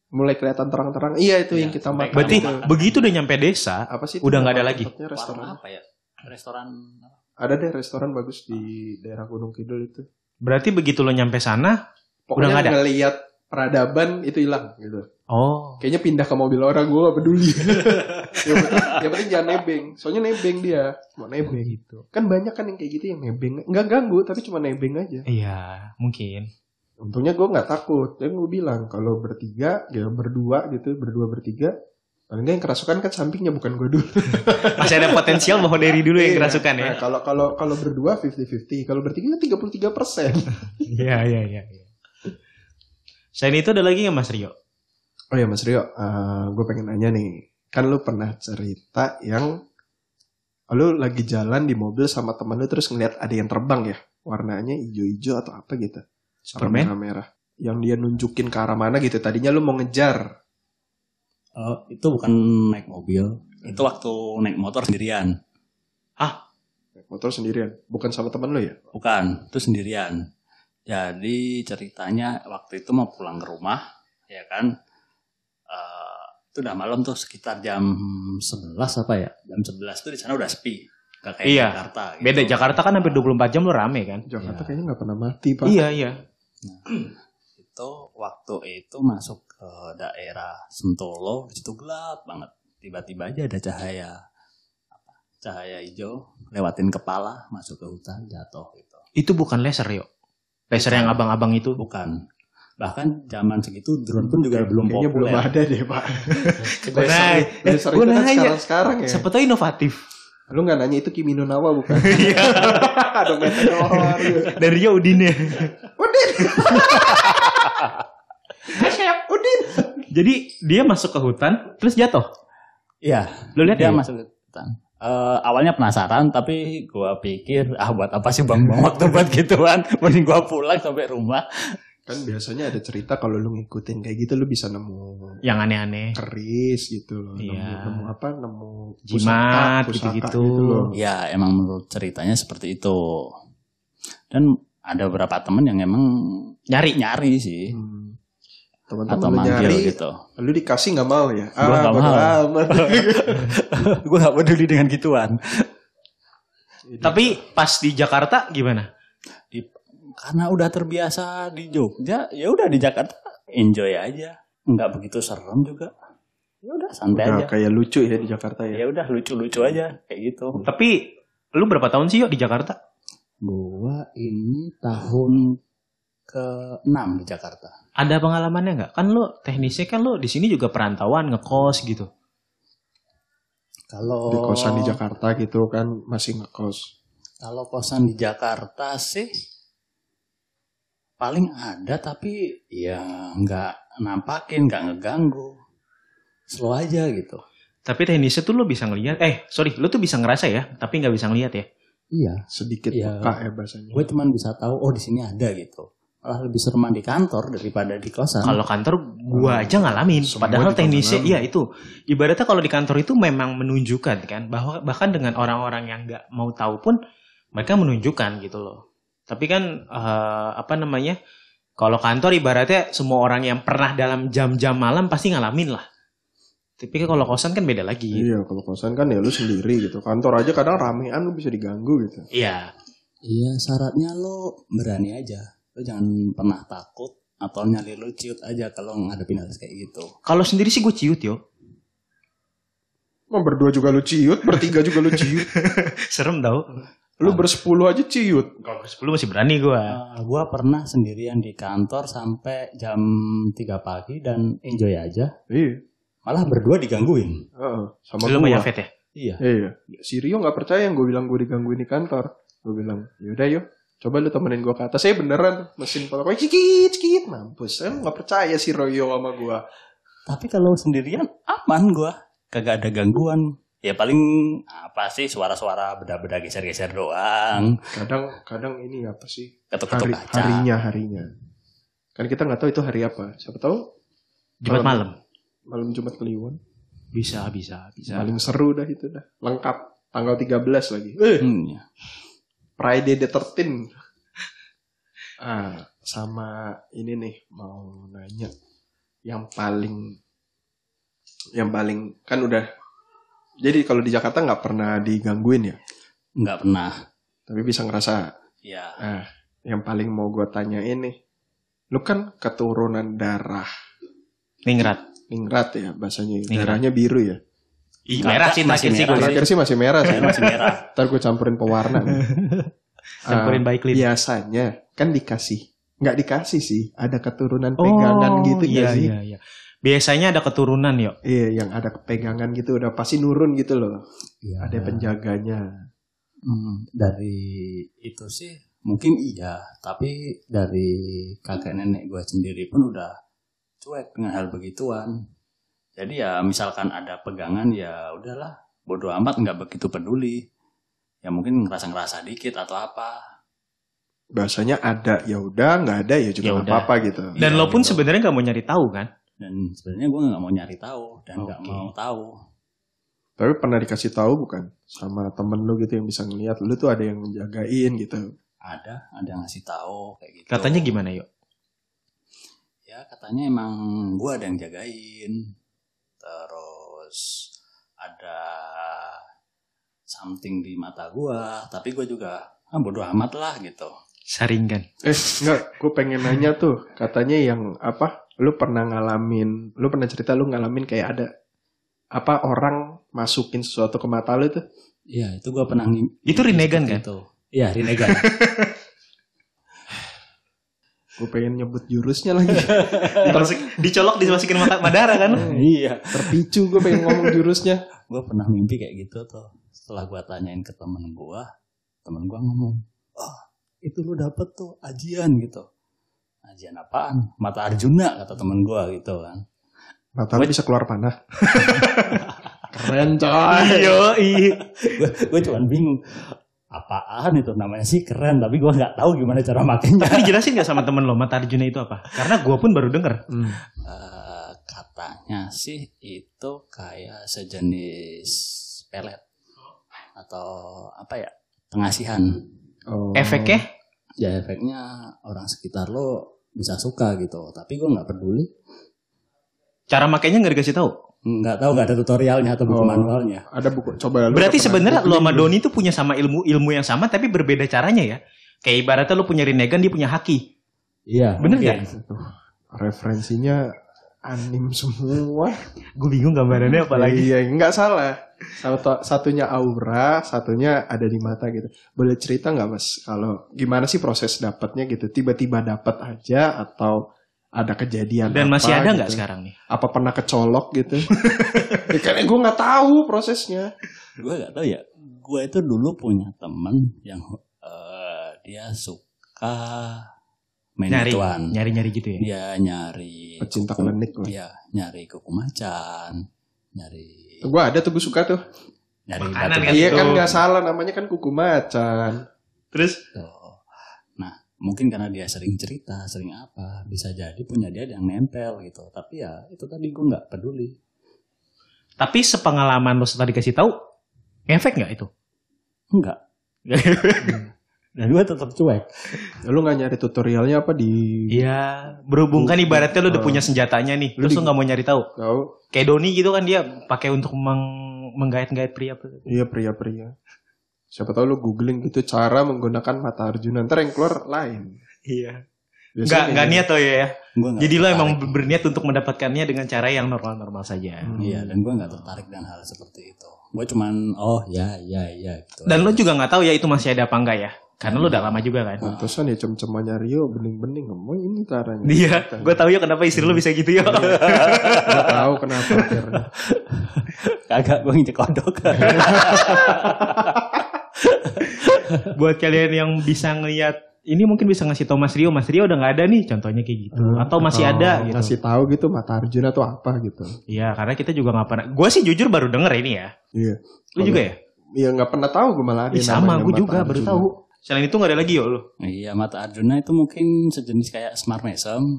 [SPEAKER 1] mulai kelihatan terang-terang. Iya itu
[SPEAKER 3] Iya,
[SPEAKER 1] yang kita makan.
[SPEAKER 3] sampai
[SPEAKER 2] Berarti
[SPEAKER 1] itu.
[SPEAKER 3] Makan.
[SPEAKER 2] begitu udah nyampe desa,
[SPEAKER 1] apa sih? itu
[SPEAKER 2] udah nggak ada
[SPEAKER 1] nama
[SPEAKER 2] lagi.
[SPEAKER 1] tempatnya, Restoran.
[SPEAKER 3] Warna apa ya? Restoran
[SPEAKER 1] Ada deh restoran bagus di daerah Gunung Kidul itu.
[SPEAKER 2] berarti begitu lo nyampe sana,
[SPEAKER 1] Pokoknya
[SPEAKER 2] nggak ada?
[SPEAKER 1] ngelihat peradaban itu hilang gitu.
[SPEAKER 2] oh
[SPEAKER 1] Kayaknya pindah ke mobil orang gue gak peduli. yang, penting, yang penting jangan nebeng. Soalnya nebeng dia. Mau nebeng gitu. Kan banyak kan yang kayak gitu yang nebeng. Nggak ganggu tapi cuma nebeng aja.
[SPEAKER 2] iya mungkin.
[SPEAKER 1] Untungnya gue nggak takut. Dan gue bilang kalau bertiga, ya berdua gitu, berdua bertiga. Paling nggak yang kerasukan kan sampingnya bukan gue dulu.
[SPEAKER 2] Masih ada potensial bahwa dari dulu
[SPEAKER 1] Iya.
[SPEAKER 2] yang kerasukan
[SPEAKER 1] Nah,
[SPEAKER 2] ya.
[SPEAKER 1] kalau kalau kalau berdua 50-50, kalau bertiga kan 33 persen.
[SPEAKER 2] Iya iya iya. iya. Selain itu ada lagi nggak Mas Rio?
[SPEAKER 1] Oh ya Mas Rio, gue pengen nanya nih. Kan lu pernah cerita yang lu lagi jalan di mobil sama teman lu terus ngeliat ada yang terbang ya, warnanya hijau-hijau atau apa gitu. Apa
[SPEAKER 2] Superman?
[SPEAKER 1] Merah-merah. Yang dia nunjukin ke arah mana gitu. Tadinya lu mau ngejar.
[SPEAKER 3] Oh, itu bukan naik mobil. Itu waktu naik motor sendirian.
[SPEAKER 1] Naik Motor sendirian, bukan sama teman lu ya?
[SPEAKER 3] Bukan, itu sendirian. Jadi ceritanya waktu itu mau pulang ke rumah, ya kan? Eh, itu udah malam tuh sekitar jam 11 apa ya? Jam 11 tuh di sana udah sepi. Gak kayak
[SPEAKER 2] Iya,
[SPEAKER 3] Jakarta. gitu.
[SPEAKER 2] Beda Jakarta kan hampir 24 jam lo rame kan?
[SPEAKER 1] Jakarta
[SPEAKER 3] Iya.
[SPEAKER 1] kayaknya nggak pernah mati pak.
[SPEAKER 2] Iya iya.
[SPEAKER 3] Itu waktu itu masuk ke daerah Sentolo, di situ gelap banget. Tiba-tiba aja ada cahaya apa, cahaya hijau lewatin kepala masuk ke hutan jatuh gitu.
[SPEAKER 2] Itu bukan laser Rio. Laser yang abang-abang itu.
[SPEAKER 3] Bukan. Bahkan zaman segitu drone pun juga belum
[SPEAKER 1] Kayaknya belum
[SPEAKER 3] populer.
[SPEAKER 1] ada deh pak.
[SPEAKER 2] Gua nanya.
[SPEAKER 1] laser itu
[SPEAKER 2] Gua
[SPEAKER 1] kan
[SPEAKER 2] nanya.
[SPEAKER 1] sekarang-sekarang ya.
[SPEAKER 2] Siapa tahu inovatif.
[SPEAKER 1] Lu nggak nanya itu Kimi no Nawa bukan?
[SPEAKER 3] Iya.
[SPEAKER 1] Ada meteor.
[SPEAKER 2] Dari Rio Udin ya.
[SPEAKER 1] Udin. Udin.
[SPEAKER 2] Jadi dia masuk ke hutan terus jatuh.
[SPEAKER 3] Iya,
[SPEAKER 2] Lo lihat
[SPEAKER 3] dia
[SPEAKER 2] ya?
[SPEAKER 3] masuk ke hutan. Eh, awalnya penasaran tapi gua pikir ah buat apa sih bang bang waktu buat gituan mending gua pulang sampai rumah
[SPEAKER 1] Kan biasanya ada cerita kalau lu ngikutin kayak gitu lu bisa nemu
[SPEAKER 2] Yang aneh-aneh.
[SPEAKER 1] keris gitu loh. Nemu,
[SPEAKER 2] Iya.
[SPEAKER 1] nemu apa? Nemu
[SPEAKER 2] Jimat,
[SPEAKER 1] pusaka gitu
[SPEAKER 2] gitu-gitu.
[SPEAKER 1] loh.
[SPEAKER 3] ya emang menurut ceritanya seperti itu dan ada beberapa temen yang emang
[SPEAKER 2] Nyari.
[SPEAKER 3] nyari sih
[SPEAKER 1] Hmm.
[SPEAKER 3] atau
[SPEAKER 1] Teman-teman lu
[SPEAKER 3] manggil
[SPEAKER 1] nyari,
[SPEAKER 3] gitu
[SPEAKER 1] lu dikasih nggak mau ya?
[SPEAKER 3] Gua nggak
[SPEAKER 1] bodo
[SPEAKER 3] mau.
[SPEAKER 1] amat.
[SPEAKER 3] gua gak peduli dengan gituan
[SPEAKER 2] Tapi pas di Jakarta gimana?
[SPEAKER 3] karena udah terbiasa di Jogja ya udah di Jakarta enjoy aja nggak begitu serem juga ya udah santai
[SPEAKER 1] Udah
[SPEAKER 3] aja
[SPEAKER 1] kayak lucu ya di Jakarta ya.
[SPEAKER 3] ya udah lucu-lucu aja kayak gitu
[SPEAKER 2] Tapi lu berapa tahun sih yuk di Jakarta?
[SPEAKER 3] Gua ini tahun ke-6 di Jakarta.
[SPEAKER 2] Ada pengalamannya nggak? Kan lu teknisnya kan lu di sini juga perantauan ngekos gitu.
[SPEAKER 3] Kalau
[SPEAKER 1] Di kosan di Jakarta gitu kan masih ngekos.
[SPEAKER 3] Kalau kosan di Jakarta sih paling ada tapi ya nggak nampakin, nggak ngeganggu. Slow aja gitu.
[SPEAKER 2] Tapi teknisnya tuh lu bisa ngelihat. Eh sorry, lu tuh bisa ngerasa ya, tapi nggak bisa ngelihat ya.
[SPEAKER 3] Iya,
[SPEAKER 1] Sedikit
[SPEAKER 3] Iya.
[SPEAKER 1] peka ya bahasanya.
[SPEAKER 3] gue cuman bisa tahu oh di sini ada gitu. Malah lebih sereman di kantor daripada di kosan.
[SPEAKER 2] Kalau kantor gua aja ngalamin.
[SPEAKER 1] Semua di
[SPEAKER 2] Padahal
[SPEAKER 1] kantor
[SPEAKER 2] teknisnya
[SPEAKER 1] ngalamin.
[SPEAKER 2] iya itu. Ibaratnya kalau di kantor itu memang menunjukkan kan bahwa bahkan dengan orang-orang yang nggak mau tahu pun mereka menunjukkan gitu loh. Tapi kan eh, apa namanya? Kalau kantor ibaratnya semua orang yang pernah dalam jam-jam malam pasti ngalamin lah. Tapi kalau kosan kan beda lagi.
[SPEAKER 1] Iya, kalau kosan kan ya lu sendiri gitu. Kantor aja kadang ramean lu bisa diganggu gitu.
[SPEAKER 2] Iya.
[SPEAKER 3] Iya, syaratnya lo berani aja. Lo jangan pernah takut atau nyali lo ciut aja kalau ngadepin hal kayak gitu.
[SPEAKER 2] Kalau sendiri sih gue ciut yo.
[SPEAKER 1] Emang berdua juga lu ciut, bertiga juga lu ciut.
[SPEAKER 2] Serem tau.
[SPEAKER 1] Lu bersepuluh aja ciut.
[SPEAKER 2] Kalau sebelum masih berani gua.
[SPEAKER 3] Eh, gua pernah sendirian di kantor sampai jam 3 pagi dan enjoy aja.
[SPEAKER 1] Iya.
[SPEAKER 3] Malah berdua digangguin.
[SPEAKER 1] Heeh, sama
[SPEAKER 2] Lu
[SPEAKER 1] gua.
[SPEAKER 2] sama Yafet ya?
[SPEAKER 3] Iya.
[SPEAKER 1] Iya. Si Rio nggak percaya yang gue bilang gue digangguin di kantor. Gue bilang, yaudah yuk. Coba lu temenin gue ke atas. Saya beneran mesin pola gue cikit cikit mampus. Saya nggak percaya si Rio sama gue.
[SPEAKER 3] Tapi kalau sendirian aman gua, kagak ada gangguan. ya paling apa sih suara-suara beda-beda geser-geser doang
[SPEAKER 1] kadang kadang ini apa sih
[SPEAKER 3] ketuk-ketuk
[SPEAKER 1] hari,
[SPEAKER 3] kaca
[SPEAKER 1] harinya harinya kan kita nggak tahu itu hari apa siapa tahu Malam.
[SPEAKER 2] Jumat malam.
[SPEAKER 1] malam Jumat Kliwon
[SPEAKER 2] Bisa, bisa, bisa.
[SPEAKER 1] paling seru dah itu dah lengkap tanggal 13 lagi eh,
[SPEAKER 3] Hmm, ya.
[SPEAKER 1] Friday the 13 ah sama ini nih mau nanya yang paling yang paling kan udah jadi kalau di Jakarta nggak pernah digangguin ya
[SPEAKER 3] nggak pernah
[SPEAKER 1] tapi bisa ngerasa
[SPEAKER 2] Iya.
[SPEAKER 3] ya
[SPEAKER 1] Ah, yang paling mau gue tanya ini, lu kan keturunan darah
[SPEAKER 2] Ningrat.
[SPEAKER 1] ningrat ya bahasanya,
[SPEAKER 2] Ningrat.
[SPEAKER 1] darahnya biru
[SPEAKER 2] Iya.
[SPEAKER 1] ya.
[SPEAKER 2] Ih,
[SPEAKER 3] Nggak,
[SPEAKER 2] merah sih
[SPEAKER 3] masih
[SPEAKER 2] terakhir sih
[SPEAKER 3] merah.
[SPEAKER 2] gue lihat.
[SPEAKER 1] Terakhir sih masih merah sih.
[SPEAKER 2] Iya.
[SPEAKER 3] saya masih merah
[SPEAKER 1] Ntar gue campurin pewarna. nih. Ah,
[SPEAKER 2] Campurin baik lid.
[SPEAKER 1] biasanya kan dikasih, nggak dikasih sih, ada keturunan pegangan gitu nggak
[SPEAKER 2] Oh, iya,
[SPEAKER 1] sih?
[SPEAKER 2] iya, iya. Biasanya ada keturunan yo.
[SPEAKER 1] Iya, yang ada pegangan gitu udah pasti nurun gitu loh.
[SPEAKER 3] Iya.
[SPEAKER 2] Ya.
[SPEAKER 1] Ada penjaganya.
[SPEAKER 3] Hmm, dari itu sih mungkin iya, tapi dari kakek nenek gue sendiri pun udah cuek dengan hal begituan. Jadi ya misalkan ada pegangan ya udahlah, bodoh amat nggak begitu peduli. Ya mungkin ngerasa-ngerasa dikit atau apa.
[SPEAKER 1] Bahasanya ada ya udah, nggak ada ya
[SPEAKER 2] Ya
[SPEAKER 1] juga nggak
[SPEAKER 2] udah.
[SPEAKER 1] apa-apa gitu.
[SPEAKER 2] Dan
[SPEAKER 3] Iya,
[SPEAKER 2] lo pun
[SPEAKER 3] gitu.
[SPEAKER 2] sebenarnya nggak mau nyari tahu kan?
[SPEAKER 3] Dan sebenarnya gue nggak mau nyari tahu dan nggak
[SPEAKER 2] Oke.
[SPEAKER 3] mau tahu.
[SPEAKER 1] Tapi pernah dikasih tahu bukan sama temen lu gitu yang bisa ngeliat lu tuh ada yang jagain gitu.
[SPEAKER 3] Ada, ada yang ngasih tahu kayak gitu.
[SPEAKER 2] Katanya gimana yo?
[SPEAKER 3] ya katanya emang gue ada yang jagain terus ada something di mata gue tapi gue juga ah bodo amat lah gitu
[SPEAKER 2] Saringan.
[SPEAKER 1] Eh, enggak, gue pengen nanya tuh, katanya yang apa? Lu pernah ngalamin, lu pernah cerita lu ngalamin kayak ada apa orang masukin sesuatu ke mata lu tuh?
[SPEAKER 3] ya itu gue pernah ngim-
[SPEAKER 2] Itu Rinnegan
[SPEAKER 1] gitu,
[SPEAKER 2] kan?
[SPEAKER 3] itu iya Rinnegan
[SPEAKER 1] Gue pengen nyebut jurusnya lagi.
[SPEAKER 2] dicolok dimasukin mata Madara kan?
[SPEAKER 3] iya
[SPEAKER 1] Terpicu gue pengen ngomong jurusnya.
[SPEAKER 3] gue pernah mimpi kayak gitu tuh setelah gue tanyain ke temen gue temen gue ngomong oh itu lu dapet tuh ajian gitu ajian apaan mata Arjuna kata temen gue gitu kan
[SPEAKER 1] Mata lu bisa keluar panah. Keren
[SPEAKER 2] Iya,
[SPEAKER 1] coy.
[SPEAKER 2] Ayo,
[SPEAKER 3] gue cuman bingung apaan itu namanya sih keren tapi gue nggak tahu gimana cara makainya
[SPEAKER 2] Tapi dijelasin nggak sama temen lo Mata Arjuna itu apa? Karena gue pun baru denger.
[SPEAKER 1] Hmm.
[SPEAKER 3] Eh, katanya sih itu kayak sejenis pelet atau apa ya pengasihan
[SPEAKER 1] Oh.
[SPEAKER 2] Efeknya?
[SPEAKER 3] ya efeknya orang sekitar lo bisa suka gitu tapi gue nggak peduli
[SPEAKER 2] Cara makainya nggak dikasih tahu.
[SPEAKER 3] nggak tahu nggak ada tutorialnya atau buku
[SPEAKER 1] Oh.
[SPEAKER 3] manualnya
[SPEAKER 1] Ada buku, coba lu.
[SPEAKER 2] Berarti
[SPEAKER 1] pernah
[SPEAKER 2] sebenarnya lo sama
[SPEAKER 1] googling
[SPEAKER 2] Doni itu punya sama ilmu ilmu yang sama tapi berbeda caranya ya. Kayak ibaratnya lo punya Rinnegan dia punya Haki.
[SPEAKER 3] iya
[SPEAKER 2] Bener
[SPEAKER 3] mungkin.
[SPEAKER 2] nggak?
[SPEAKER 1] Referensinya anim semua.
[SPEAKER 2] Gue bingung gambarannya apalagi.
[SPEAKER 1] Iya, nggak salah. Satu, satunya aura, satunya ada di mata gitu. Boleh cerita nggak mas, kalau gimana sih proses dapatnya gitu? Tiba-tiba dapat aja atau ada kejadian iya.
[SPEAKER 2] Dan
[SPEAKER 1] apa
[SPEAKER 2] masih ada nggak
[SPEAKER 1] gitu?
[SPEAKER 2] sekarang nih?
[SPEAKER 1] Apa pernah kecolok gitu? ya, karena gue nggak tahu prosesnya.
[SPEAKER 3] gue nggak tahu ya gue itu dulu punya temen yang eh, dia suka main
[SPEAKER 2] Nyari,
[SPEAKER 3] gituan.
[SPEAKER 2] nyari nyari gitu ya.
[SPEAKER 3] dia Iya, nyari
[SPEAKER 1] Pecinta
[SPEAKER 3] kuku-
[SPEAKER 1] klinik lah.
[SPEAKER 3] Iya, nyari kuku macan, nyari
[SPEAKER 1] Gue ada tuh gue suka tuh.
[SPEAKER 3] nyari
[SPEAKER 2] Makanan
[SPEAKER 3] batu
[SPEAKER 2] kan?
[SPEAKER 1] Iya
[SPEAKER 2] gitu.
[SPEAKER 1] kan nggak salah namanya kan kuku macan.
[SPEAKER 2] Terus
[SPEAKER 3] batu. gitu. Nah, mungkin karena dia sering cerita, sering apa, bisa jadi punya dia ada yang nempel gitu. Tapi ya itu tadi gue nggak peduli.
[SPEAKER 2] tapi sepengalaman lo setelah dikasih tahu efek nggak itu?
[SPEAKER 3] Enggak. Dan gue tetap cuek.
[SPEAKER 1] Lu nggak nyari tutorialnya apa di?
[SPEAKER 2] Iya, berhubung kan ibaratnya lo udah punya senjatanya nih,
[SPEAKER 1] Lu di-
[SPEAKER 2] terus lo nggak mau nyari tahu.
[SPEAKER 1] Tahu?
[SPEAKER 2] Kayak Doni gitu kan dia pakai untuk meng- menggait-gait pria.
[SPEAKER 1] Iya pria-pria. Siapa tahu lu googling gitu cara menggunakan mata Arjuna. Ntar yang keluar lain.
[SPEAKER 2] Iya.
[SPEAKER 1] Biasanya
[SPEAKER 2] Nggak
[SPEAKER 1] kayak
[SPEAKER 2] nggak
[SPEAKER 1] gitu.
[SPEAKER 2] niat tuh ya.
[SPEAKER 3] Gua nggak
[SPEAKER 2] Jadi lo emang
[SPEAKER 3] tertarik.
[SPEAKER 2] berniat untuk mendapatkannya dengan cara yang normal-normal saja.
[SPEAKER 3] Iya, dan gue nggak tertarik dengan hal seperti itu. Gue cuman, oh ya, ya, ya. Gitu.
[SPEAKER 2] Dan lo juga nggak tahu ya itu masih ada apa enggak ya? Karena lo udah lama juga kan.
[SPEAKER 1] Pantesan ya cem-cemannya Rio bening-bening ngomong ini caranya.
[SPEAKER 2] Iya, gue tahu ya kenapa istri lo bisa gitu ya.
[SPEAKER 1] Gua tahu kenapa akhirnya.
[SPEAKER 3] kagak gue injek kodok.
[SPEAKER 2] Buat kalian yang bisa ngelihat ini mungkin bisa ngasih tau Mas Rio, Mas Rio udah nggak ada nih contohnya kayak gitu.
[SPEAKER 1] Hmm,
[SPEAKER 2] atau masih
[SPEAKER 1] atau
[SPEAKER 2] ada gitu.
[SPEAKER 1] Kasih tahu gitu Mata Arjuna atau apa gitu.
[SPEAKER 2] Iya, karena kita juga nggak pernah. Gue sih jujur baru denger ini ya.
[SPEAKER 1] Iya.
[SPEAKER 2] Lu
[SPEAKER 1] Baru-
[SPEAKER 2] juga ya?
[SPEAKER 1] Iya nggak pernah tahu gue malah ada
[SPEAKER 2] Ih, sama,
[SPEAKER 1] namanya
[SPEAKER 2] gue
[SPEAKER 1] Mata
[SPEAKER 2] juga baru
[SPEAKER 1] Arjuna.
[SPEAKER 2] tahu. Selain itu nggak ada lagi yo lu.
[SPEAKER 3] Iya, mata Arjuna itu mungkin sejenis kayak smart mesem.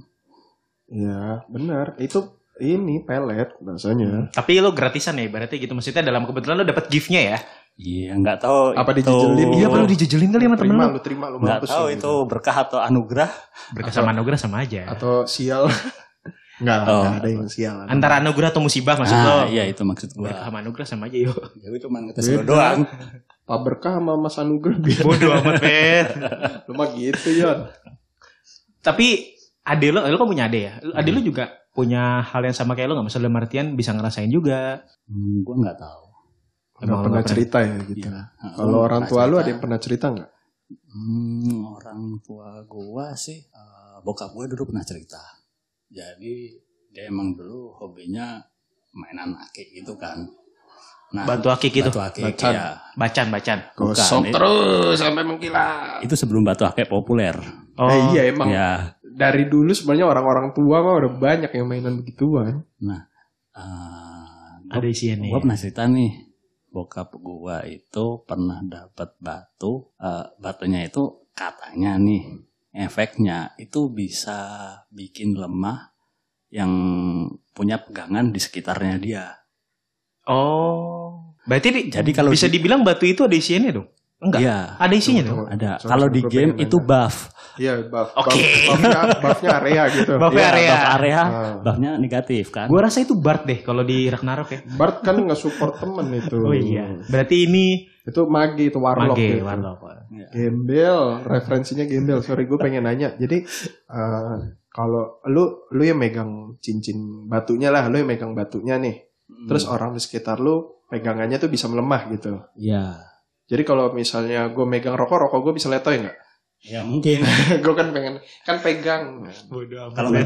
[SPEAKER 1] Iya benar. Itu ini pelet bahasanya.
[SPEAKER 2] Tapi lu gratisan ya ibaratnya gitu. Maksudnya dalam kebetulan lu dapat gift-nya ya.
[SPEAKER 3] Iya, nggak tahu
[SPEAKER 1] Apa
[SPEAKER 3] itu-
[SPEAKER 1] dijejelin? Iya, apa lu
[SPEAKER 2] dijejelin kali
[SPEAKER 1] terima lu terima lu
[SPEAKER 3] Nggak
[SPEAKER 1] mampus
[SPEAKER 3] tahu
[SPEAKER 1] lu,
[SPEAKER 3] itu
[SPEAKER 1] gitu.
[SPEAKER 3] berkah atau anugerah.
[SPEAKER 2] Berkah sama anugerah sama aja.
[SPEAKER 1] atau sial. Enggak lah,
[SPEAKER 3] Oh.
[SPEAKER 1] nggak ada yang sial.
[SPEAKER 2] Antara anugerah atau musibah maksud
[SPEAKER 3] ah,
[SPEAKER 2] lo.
[SPEAKER 3] iya itu maksud gua.
[SPEAKER 2] Berkah sama anugerah sama aja yo.
[SPEAKER 3] Ya itu cuma ngetes
[SPEAKER 1] Beda.
[SPEAKER 3] lo doang.
[SPEAKER 1] Pak Berkah sama Mas Anugerah biar
[SPEAKER 2] Bodoh amat, Fer.
[SPEAKER 1] lu mah gitu ya.
[SPEAKER 2] Tapi ade lo, lo kan punya ade ya. Lu- Ade lo juga punya hal yang sama kayak lo nggak masalah artian bisa ngerasain juga.
[SPEAKER 3] Hmm, gua nggak tahu.
[SPEAKER 1] Nggak
[SPEAKER 2] Emang
[SPEAKER 1] pernah
[SPEAKER 2] lu-
[SPEAKER 1] cerita ya gitu.
[SPEAKER 3] Iya. Nah,
[SPEAKER 1] Kalau orang
[SPEAKER 3] pernah
[SPEAKER 1] tua lu
[SPEAKER 3] cerita.
[SPEAKER 1] ada yang pernah cerita nggak?
[SPEAKER 3] Hmm, orang tua gua sih eh, bokap gua dulu pernah cerita. Jadi dia emang dulu hobinya mainan akik gitu kan. Nah,
[SPEAKER 2] Bantu akik gitu.
[SPEAKER 3] Batu akik,
[SPEAKER 1] Bacan.
[SPEAKER 3] iya.
[SPEAKER 2] Bacan, bacan.
[SPEAKER 1] Gosok
[SPEAKER 3] Bukan,
[SPEAKER 1] terus sampai mengkilat.
[SPEAKER 3] Itu sebelum batu akik populer.
[SPEAKER 2] Oh,
[SPEAKER 1] Eh, iya emang
[SPEAKER 3] Ya.
[SPEAKER 1] dari dulu sebenarnya orang-orang tua mah udah banyak yang mainan begituan.
[SPEAKER 3] eh, gua-
[SPEAKER 2] ada isiannya.
[SPEAKER 3] Gua pernah cerita nih. Bokap gua itu pernah dapat batu, eh, batunya itu katanya nih efeknya itu bisa bikin lemah yang punya pegangan di sekitarnya dia.
[SPEAKER 2] Oh, berarti di-
[SPEAKER 3] Jadi kalau
[SPEAKER 2] bisa
[SPEAKER 3] di-
[SPEAKER 2] dibilang batu itu ada isiannya dong? Enggak.
[SPEAKER 3] Iya,
[SPEAKER 2] Ada isinya dong.
[SPEAKER 3] ada.
[SPEAKER 1] Soalnya
[SPEAKER 3] Kalau di
[SPEAKER 1] gua
[SPEAKER 3] game
[SPEAKER 1] pengen
[SPEAKER 3] itu
[SPEAKER 1] nanya.
[SPEAKER 3] buff.
[SPEAKER 1] Iya, buff.
[SPEAKER 2] Oke.
[SPEAKER 1] Buff- buffnya, buffnya area gitu.
[SPEAKER 2] Buff
[SPEAKER 3] Iya,
[SPEAKER 2] area.
[SPEAKER 3] Buff area,
[SPEAKER 1] Ah.
[SPEAKER 3] buffnya negatif kan.
[SPEAKER 2] Gua rasa itu Bart deh kalau di Ragnarok ya.
[SPEAKER 1] Bart kan nggak support temen itu.
[SPEAKER 2] Oh iya. Berarti ini
[SPEAKER 1] Itu magi itu warlock.
[SPEAKER 2] Mage,
[SPEAKER 1] gitu.
[SPEAKER 2] Warlock.
[SPEAKER 1] Gembel, referensinya gembel. Sorry, gue pengen nanya. Jadi eh, kalau lu lu yang megang cincin batunya lah, lu yang megang batunya nih.
[SPEAKER 3] Hmm.
[SPEAKER 1] Terus orang di sekitar lu pegangannya tuh bisa melemah gitu.
[SPEAKER 3] Iya.
[SPEAKER 1] Jadi kalau misalnya gue megang rokok, rokok gue bisa letoy nggak?
[SPEAKER 3] Ya mungkin
[SPEAKER 1] gue kan pengen kan pegang.
[SPEAKER 2] Bodoh
[SPEAKER 3] kalau nggak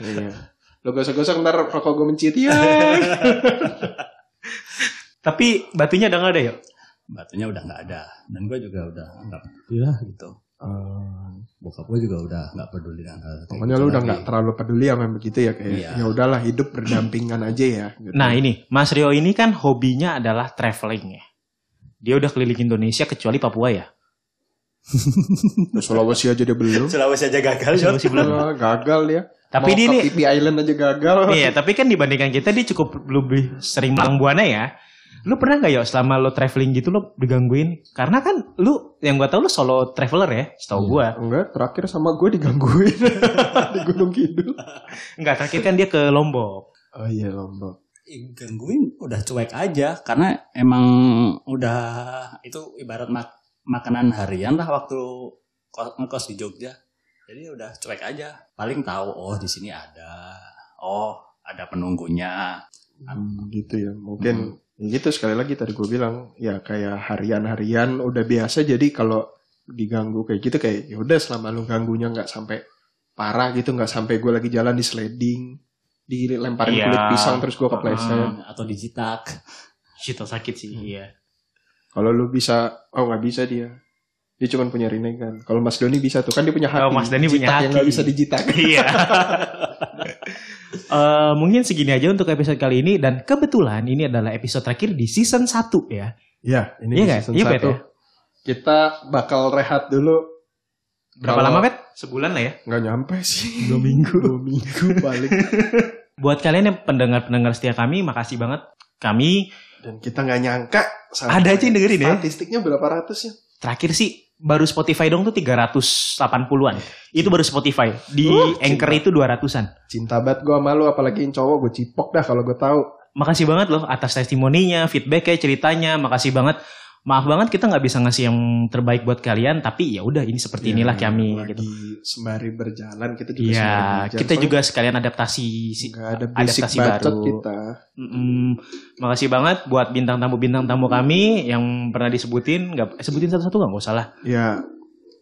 [SPEAKER 1] Iya. Lo gosok-gosok ntar rokok gue mencit ya.
[SPEAKER 2] Tapi batunya udah nggak ada ya?
[SPEAKER 3] Batunya udah nggak ada dan gua juga udah nggak peduli lah gitu. Bokap gua juga udah nggak peduli dengan hal kayak
[SPEAKER 1] Pokoknya
[SPEAKER 3] gitu
[SPEAKER 1] lu udah
[SPEAKER 3] lagi.
[SPEAKER 1] nggak terlalu peduli sama yang begitu ya kayak
[SPEAKER 3] Iya.
[SPEAKER 1] ya udahlah hidup berdampingan aja ya. gitu.
[SPEAKER 2] Nah ini, Mas Rio ini kan hobinya adalah traveling ya. Dia udah keliling Indonesia kecuali Papua ya.
[SPEAKER 1] Sulawesi aja dia belum.
[SPEAKER 3] Sulawesi aja gagal
[SPEAKER 2] Sulawesi belum.
[SPEAKER 1] Ah, gagal dia.
[SPEAKER 2] Tapi
[SPEAKER 1] Mau
[SPEAKER 2] dia
[SPEAKER 1] ke
[SPEAKER 2] nih-
[SPEAKER 1] PP Island aja gagal.
[SPEAKER 2] Iya, tapi kan dibandingkan kita dia cukup lebih sering malang buana ya. Lu pernah nggak ya selama lo traveling gitu lo digangguin? Karena kan lu yang gua tahu lu solo traveler ya, setahu
[SPEAKER 3] Iya.
[SPEAKER 2] gua.
[SPEAKER 1] Enggak, terakhir sama gue digangguin di Gunung Kidul.
[SPEAKER 2] Enggak, terakhir kan dia ke Lombok.
[SPEAKER 1] Oh iya lombok.
[SPEAKER 3] gangguin udah cuek aja karena emang udah itu ibarat mak- makanan harian lah waktu ko- ngekos di Jogja jadi udah cuek aja paling tahu oh di sini ada oh ada penunggunya
[SPEAKER 1] Hmm, gitu ya. Mungkin
[SPEAKER 2] Hmm.
[SPEAKER 1] gitu sekali lagi tadi gue bilang ya kayak harian-harian udah biasa jadi kalau diganggu kayak gitu kayak ya udah selama lu ganggunya nggak sampai parah gitu nggak sampai gue lagi jalan di sledding dilemparin
[SPEAKER 2] Iya.
[SPEAKER 1] kulit pisang terus gue kepleset.
[SPEAKER 3] Hmm, atau dijitak
[SPEAKER 2] Shit, oh, sakit sih, iya.
[SPEAKER 1] Kalau lu bisa, oh nggak bisa dia. Dia cuma punya rinengan. Kalau Mas Doni bisa tuh kan dia punya haki.
[SPEAKER 2] Oh, Mas Doni punya
[SPEAKER 1] Jitak yang
[SPEAKER 2] haki.
[SPEAKER 1] nggak bisa dijitak.
[SPEAKER 2] Iya. Eh, mungkin segini aja untuk episode kali ini dan kebetulan ini adalah episode terakhir di season 1 ya.
[SPEAKER 1] Ya, ini
[SPEAKER 2] Iya
[SPEAKER 1] di
[SPEAKER 2] nggak?
[SPEAKER 1] season
[SPEAKER 2] Iya, Pet,
[SPEAKER 1] satu.
[SPEAKER 2] ya?
[SPEAKER 1] Kita bakal rehat dulu.
[SPEAKER 2] Berapa
[SPEAKER 1] Kalau-
[SPEAKER 2] lama, Pet? Sebulan lah ya.
[SPEAKER 1] Nggak nyampe sih. Dua minggu. Dua minggu paling.
[SPEAKER 2] Buat kalian yang pendengar-pendengar setia kami, makasih banget. Kami
[SPEAKER 1] Dan kita nggak nyangka. sampai-
[SPEAKER 2] ada aja yang dengerin ya.
[SPEAKER 1] Statistiknya berapa ratus ya?
[SPEAKER 2] Terakhir sih baru Spotify dong tuh 380-an. Itu baru Spotify. Di
[SPEAKER 1] Uh,
[SPEAKER 2] Anchor itu 200-an.
[SPEAKER 1] Cinta banget gue sama lu. Apalagi yang cowok gue cipok dah kalau gue tahu.
[SPEAKER 2] Makasih banget loh atas testimoninya, feedbacknya, ceritanya. Makasih banget. Maaf banget kita nggak bisa ngasih yang terbaik buat kalian, tapi ya udah ini seperti inilah
[SPEAKER 1] Ya,
[SPEAKER 2] kami
[SPEAKER 1] lagi
[SPEAKER 2] gitu.
[SPEAKER 1] Sembari berjalan kita juga sembari
[SPEAKER 2] Iya,
[SPEAKER 1] belajar.
[SPEAKER 2] kita
[SPEAKER 1] Soalnya
[SPEAKER 2] juga sekalian adaptasi si-
[SPEAKER 1] nggak ada basic gitu.
[SPEAKER 2] adaptasi
[SPEAKER 1] bacot
[SPEAKER 2] baru.
[SPEAKER 1] kita.
[SPEAKER 2] Mm-mm. Makasih banget buat bintang tamu bintang tamu kami yang pernah disebutin, nggak eh, sebutin satu-satu nggak nggak usah lah.
[SPEAKER 1] Ya,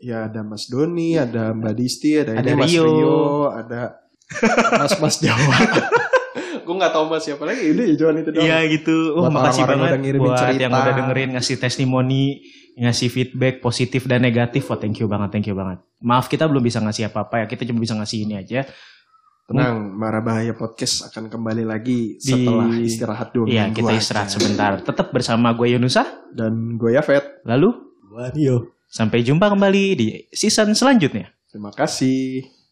[SPEAKER 1] ya ada Mas Doni, ada Mbak Disti, Iya. ada,
[SPEAKER 2] Ada
[SPEAKER 1] Mas
[SPEAKER 2] Rio.
[SPEAKER 1] ada Mas Mas Jawa. gue nggak tahu mas siapa lagi udah ya cuman itu doang
[SPEAKER 2] Iya gitu. Wah,
[SPEAKER 1] Buat
[SPEAKER 2] makasih
[SPEAKER 1] orang-orang yang udah
[SPEAKER 2] banget
[SPEAKER 1] ngirimin
[SPEAKER 2] buat
[SPEAKER 1] cerita.
[SPEAKER 2] yang udah dengerin ngasih testimoni, ngasih feedback positif dan negatif. Wah, thank you banget, thank you banget. Maaf kita belum bisa ngasih apa-apa ya. Kita cuma bisa ngasih ini aja.
[SPEAKER 1] tenang marah bahaya podcast akan kembali lagi
[SPEAKER 2] Di-
[SPEAKER 1] setelah istirahat dua
[SPEAKER 2] Iya,
[SPEAKER 1] minggu
[SPEAKER 2] kita
[SPEAKER 1] aja.
[SPEAKER 2] istirahat sebentar. Tetap bersama gue Yunusa.
[SPEAKER 1] dan gue Yafet
[SPEAKER 2] Lalu
[SPEAKER 3] Wario.
[SPEAKER 2] sampai jumpa kembali di season selanjutnya.
[SPEAKER 1] terima kasih